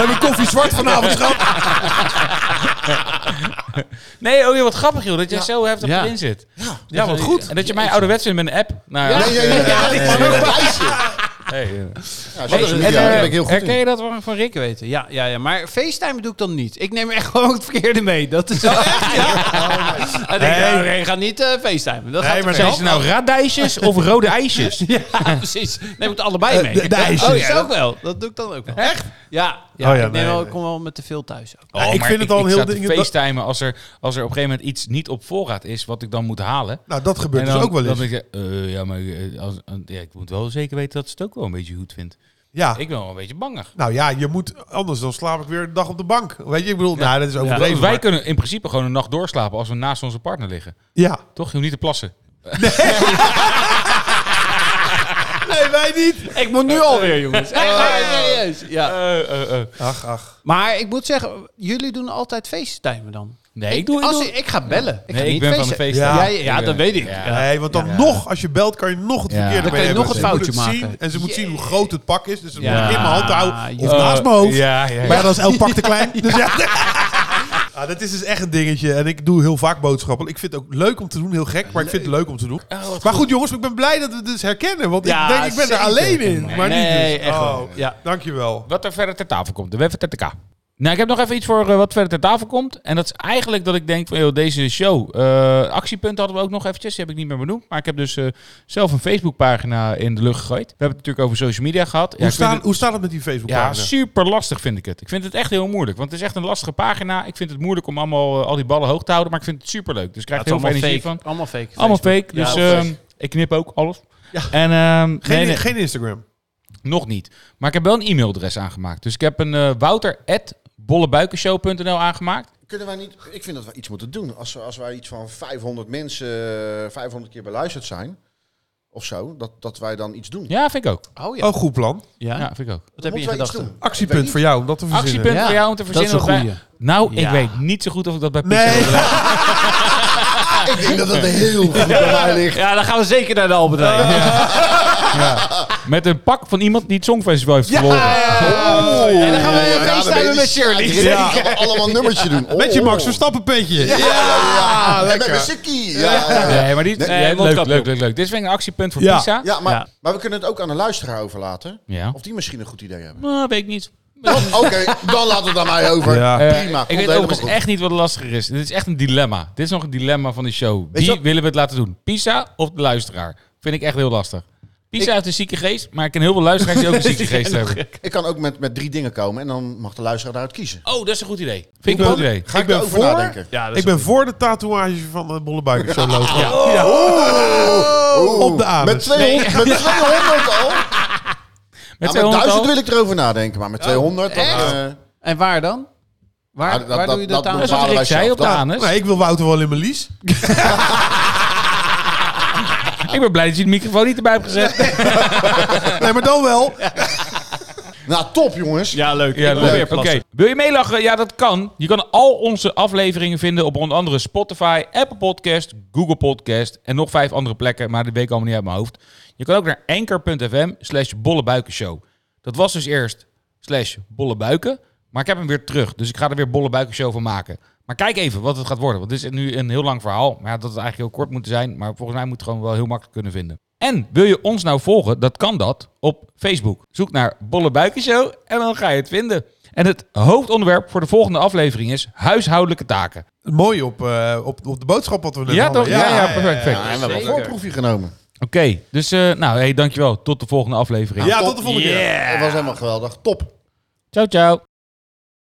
Speaker 4: hebben koffie zwart vanavond, schat.
Speaker 3: Nee, oh, joh, wat grappig joh, dat jij zo heftig
Speaker 1: Ja.
Speaker 3: erin zit. Ja,
Speaker 4: wat goed.
Speaker 3: En dat je mij ouderwets vindt met een app. Nou, ja.
Speaker 2: Nee, nee, nee. Ja, dit is een lijstje.
Speaker 3: Hey, eh.
Speaker 2: Ja, zo is het
Speaker 3: en,
Speaker 2: niet, ja,
Speaker 3: eh,
Speaker 2: daar ben ik heel goed
Speaker 3: herken
Speaker 2: in.
Speaker 3: je dat van, van Rick?
Speaker 1: Ik weet het. Ja, ja, ja. Maar FaceTime doe ik dan niet. Ik neem echt gewoon het verkeerde mee. Dat is Ik denk,
Speaker 4: Nee.
Speaker 1: nou, nee, ga niet eh FaceTime. Dat gaat
Speaker 4: Nee,
Speaker 1: te
Speaker 4: maar
Speaker 1: ver.
Speaker 3: Zijn ze nou radijsjes of rode ijsjes?
Speaker 1: Ja, precies. Neem ik het allebei mee.
Speaker 4: Eh, de- de ijsjes.
Speaker 1: Oh, ja, dat ook wel. Dat doe ik dan ook wel. Echt? Ja. ja
Speaker 4: Oh ja,
Speaker 1: ik, neem
Speaker 4: nee,
Speaker 1: wel,
Speaker 4: nee.
Speaker 1: ik kom wel met te veel thuis ook.
Speaker 4: Ja, ik
Speaker 3: Oh, maar
Speaker 4: vind het al een heel
Speaker 3: sta te
Speaker 4: ding- dat-
Speaker 3: facetimen als er, als er op een gegeven moment iets niet op voorraad is wat ik dan moet halen.
Speaker 4: Nou, dat gebeurt
Speaker 3: En
Speaker 4: dus
Speaker 3: dan-
Speaker 4: ook wel eens.
Speaker 3: Dan denk ik, eh, ja, maar eh, als, eh, ja, ik moet wel zeker weten dat ze het ook wel een beetje goed vindt.
Speaker 4: ja.
Speaker 3: Ik ben wel een beetje bangig.
Speaker 4: Nou ja, je moet anders dan slaap ik weer een dag op de bank. Weet je, ik bedoel, nou, dat is
Speaker 3: Want
Speaker 4: overdreven.
Speaker 3: wij
Speaker 4: maar-
Speaker 3: kunnen in principe gewoon een nacht doorslapen als we naast onze partner liggen.
Speaker 4: Ja.
Speaker 3: Toch? Je hoeft niet te plassen.
Speaker 4: Nee, wij niet. Eh,
Speaker 1: Ik moet nu alweer, jongens. Echt waar, serieus. Ja. eh,
Speaker 4: Ach, ach.
Speaker 1: Maar ik moet zeggen, jullie doen altijd FaceTime dan.
Speaker 3: Nee, ik doe ik
Speaker 1: Als
Speaker 3: doe-
Speaker 1: ik, ik ga bellen. Ik ga
Speaker 3: Nee, ik
Speaker 1: niet
Speaker 3: ben van de
Speaker 1: FaceTime.
Speaker 3: FaceTime.
Speaker 1: Ja, ja, ja, dat weet ik. Ja.
Speaker 4: Nee, want dan nog, als je belt, kan je nog het
Speaker 3: Ja.
Speaker 4: verkeerde
Speaker 3: Dan
Speaker 1: kan je
Speaker 4: mee
Speaker 1: nog
Speaker 4: hebben.
Speaker 1: het
Speaker 4: Ze moet
Speaker 1: foutje
Speaker 4: zien
Speaker 1: maken.
Speaker 4: en ze moet zien hoe groot het pak is. Dus ze
Speaker 1: Ja.
Speaker 4: moet het in mijn hand houden of
Speaker 1: Ja.
Speaker 4: naast mijn hoofd.
Speaker 3: Eh, Ja, ja, ja.
Speaker 4: Maar ja, dat is elk pak te klein. Dus ja. Ah, dat is dus echt een dingetje. En ik doe heel vaak boodschappen. Ik vind het ook leuk om te doen, heel gek. Maar ik vind het leuk om te doen. maar goed, jongens, ik ben blij dat we het dus herkennen. Want
Speaker 1: Oh, Ja,
Speaker 4: ik denk, ik ben
Speaker 1: zeker.
Speaker 4: er alleen in. Maar
Speaker 1: Nee,
Speaker 4: niet dus.
Speaker 1: echt
Speaker 4: Oh,
Speaker 1: wel. Ja.
Speaker 4: Dankjewel.
Speaker 3: Wat er verder ter tafel komt. De Web ter TK. Nou, ik heb nog even iets voor eh, wat verder ter tafel komt. En dat is eigenlijk dat ik denk van, joh, deze show. eh, actiepunten hadden we ook nog eventjes. Die heb ik niet meer benoemd. Maar ik heb dus eh, zelf een Facebookpagina in de lucht gegooid. We hebben het natuurlijk over social media gehad. Ja,
Speaker 4: Hoe,
Speaker 3: ik vind
Speaker 4: staan,
Speaker 3: het-
Speaker 4: hoe staat het met die facebook
Speaker 3: ja, super lastig vind ik het. Ik vind het echt heel moeilijk. Want het is echt een lastige pagina. Ik vind het moeilijk om allemaal eh, al die ballen hoog te houden. Maar ik vind het super leuk. Dus ik
Speaker 1: Ja,
Speaker 3: krijg
Speaker 1: het
Speaker 3: er
Speaker 1: is
Speaker 3: heel veel
Speaker 1: allemaal
Speaker 3: energie
Speaker 1: fake.
Speaker 3: van.
Speaker 1: Allemaal fake.
Speaker 3: Allemaal
Speaker 1: Facebook.
Speaker 3: fake. Dus
Speaker 1: Ja,
Speaker 3: ehm, ik knip ook alles. En, ehm,
Speaker 4: Geen,
Speaker 3: nee, nee.
Speaker 4: geen Instagram.
Speaker 3: Nog niet. Maar ik heb wel een e-mailadres aangemaakt. Dus ik heb een eh wouter.bollebuikenshow.nl aangemaakt.
Speaker 2: Kunnen wij niet... Ik vind dat we iets moeten doen. Als, we- als wij iets van 500 mensen eh, 500 keer beluisterd zijn, of zo, dat, dat wij dan iets doen.
Speaker 3: Ja, vind ik ook.
Speaker 1: Oh ja.
Speaker 4: Oh, goed plan.
Speaker 1: ja.
Speaker 3: Ja, vind ik ook.
Speaker 1: Wat heb je in
Speaker 2: Moeten wij iets
Speaker 1: gedachten?
Speaker 2: doen? Ik
Speaker 4: Actiepunt
Speaker 2: weet
Speaker 4: voor jou om dat te verzinnen.
Speaker 3: Actiepunt
Speaker 1: Ja,
Speaker 3: voor jou om te
Speaker 1: Dat is
Speaker 3: verzinnen.
Speaker 1: een
Speaker 3: wat wij-
Speaker 1: goeie.
Speaker 3: Nou, ik
Speaker 1: Ja.
Speaker 3: weet niet zo goed of ik dat bij Pizza
Speaker 4: Nee.
Speaker 3: wil doen.
Speaker 2: niet. Ik denk dat dat heel goed bij mij ligt.
Speaker 1: Ja, dan gaan we zeker naar de Albert Heijn.
Speaker 3: Met een pak van iemand die het Songfestival heeft verloren.
Speaker 4: Oh.
Speaker 1: En dan gaan we
Speaker 2: Ja, ja, ja,
Speaker 1: staan we met Shirley.
Speaker 2: Ja, gaan we allemaal nummertje doen. Oh,
Speaker 4: Met je Max
Speaker 2: oh.
Speaker 4: Verstappen petje.
Speaker 2: Ja, ja, ja. En met
Speaker 4: lekker.
Speaker 2: een sikkie. Ja, ja, ja.
Speaker 3: Nee, maar die,
Speaker 2: Nee,
Speaker 3: nee, leuk,
Speaker 6: mondkapje
Speaker 3: leuk,
Speaker 6: op.
Speaker 3: leuk, leuk. Dit vind ik een actiepunt voor
Speaker 4: Ja.
Speaker 3: Pisa.
Speaker 2: Ja, maar,
Speaker 6: Ja.
Speaker 2: maar we kunnen het ook aan de luisteraar overlaten.
Speaker 3: Ja.
Speaker 2: Of die misschien een goed idee hebben.
Speaker 6: Nou, weet ik niet.
Speaker 2: Oké, dan laten we het aan mij over.
Speaker 4: Ja.
Speaker 3: Eh,
Speaker 2: Ah, Prima, komt
Speaker 3: ik weet
Speaker 2: helemaal
Speaker 3: overigens
Speaker 2: goed.
Speaker 3: echt niet wat lastiger is. Dit is echt een dilemma. Dit is nog een dilemma van de show.
Speaker 2: je
Speaker 3: Wie
Speaker 2: wat-
Speaker 3: willen we het laten doen? Pisa of de luisteraar? Vind ik echt heel lastig. Pisa heeft een zieke geest, maar ik ken heel veel luisteraars die ook een zieke geest hebben.
Speaker 2: Ik kan ook met, met drie dingen komen en dan mag de luisteraar daaruit kiezen.
Speaker 3: Oh, dat is een goed idee.
Speaker 4: Ik
Speaker 3: Vind ik een
Speaker 4: ben-
Speaker 3: goed idee.
Speaker 2: Ga ik,
Speaker 4: ben
Speaker 2: erover
Speaker 4: voor.
Speaker 2: nadenken.
Speaker 6: Ja, dat is
Speaker 4: Ik ben voor de tatoeage van de bollebuik. Zo logo. Ja.
Speaker 2: Oh,
Speaker 4: Op de anus.
Speaker 2: Met 200, met 200 al?
Speaker 3: Met
Speaker 2: ja, met
Speaker 3: 200 al?
Speaker 2: 1000 wil ik erover nadenken, maar met 200... Dan, eh,
Speaker 1: En waar dan? Waar,
Speaker 2: Ah, dat-
Speaker 1: waar
Speaker 2: dat-
Speaker 1: doe je
Speaker 2: dat
Speaker 1: dat aan?
Speaker 3: Dat is
Speaker 2: bepalen
Speaker 3: wat ik
Speaker 2: wij
Speaker 3: zei
Speaker 2: zelf.
Speaker 3: op de
Speaker 2: Dat-
Speaker 3: anus.
Speaker 4: Nee, ik wil Wouter wel in mijn lies.
Speaker 3: Ik ben blij dat je de microfoon niet erbij hebt gezet.
Speaker 4: Nee, maar dan wel.
Speaker 2: nou, top jongens.
Speaker 6: Ja, leuk.
Speaker 3: Ja,
Speaker 6: Ik probeer
Speaker 3: leuk. Oké.
Speaker 6: plassen.
Speaker 3: Wil je meelachen? Ja, dat kan. Je kan al onze afleveringen vinden op onder andere Spotify, Apple Podcast, Google Podcast en nog vijf andere plekken, maar dat weet ik allemaal niet uit mijn hoofd. Je kan ook naar anchor.fm slash bollebuikenshow. Dat was dus eerst slash bollebuiken, maar ik heb hem weer terug, dus ik ga er weer bollebuikenshow van maken. Maar kijk even wat het gaat worden, want dit is nu een heel lang verhaal. Maar ja, dat het eigenlijk heel kort moet zijn, maar volgens mij moet het gewoon wel heel makkelijk kunnen vinden. En wil je ons nou volgen? Dat kan dat op Facebook. Zoek naar Bolle Buikenshow en dan ga je het vinden. En het hoofdonderwerp voor de volgende aflevering is huishoudelijke taken.
Speaker 4: Mooi op, eh, op, op de boodschap wat we net
Speaker 3: Ja,
Speaker 4: hadden.
Speaker 3: toch? Ja, ja, perfect. perfect.
Speaker 2: Ja, en we hebben een
Speaker 6: Zeker.
Speaker 2: voorproefje genomen.
Speaker 3: Oké, dus eh, nou, hey, dankjewel. Tot de volgende aflevering.
Speaker 4: Ja, tot de volgende keer.
Speaker 2: Dat was helemaal geweldig. Top.
Speaker 3: Ciao, ciao.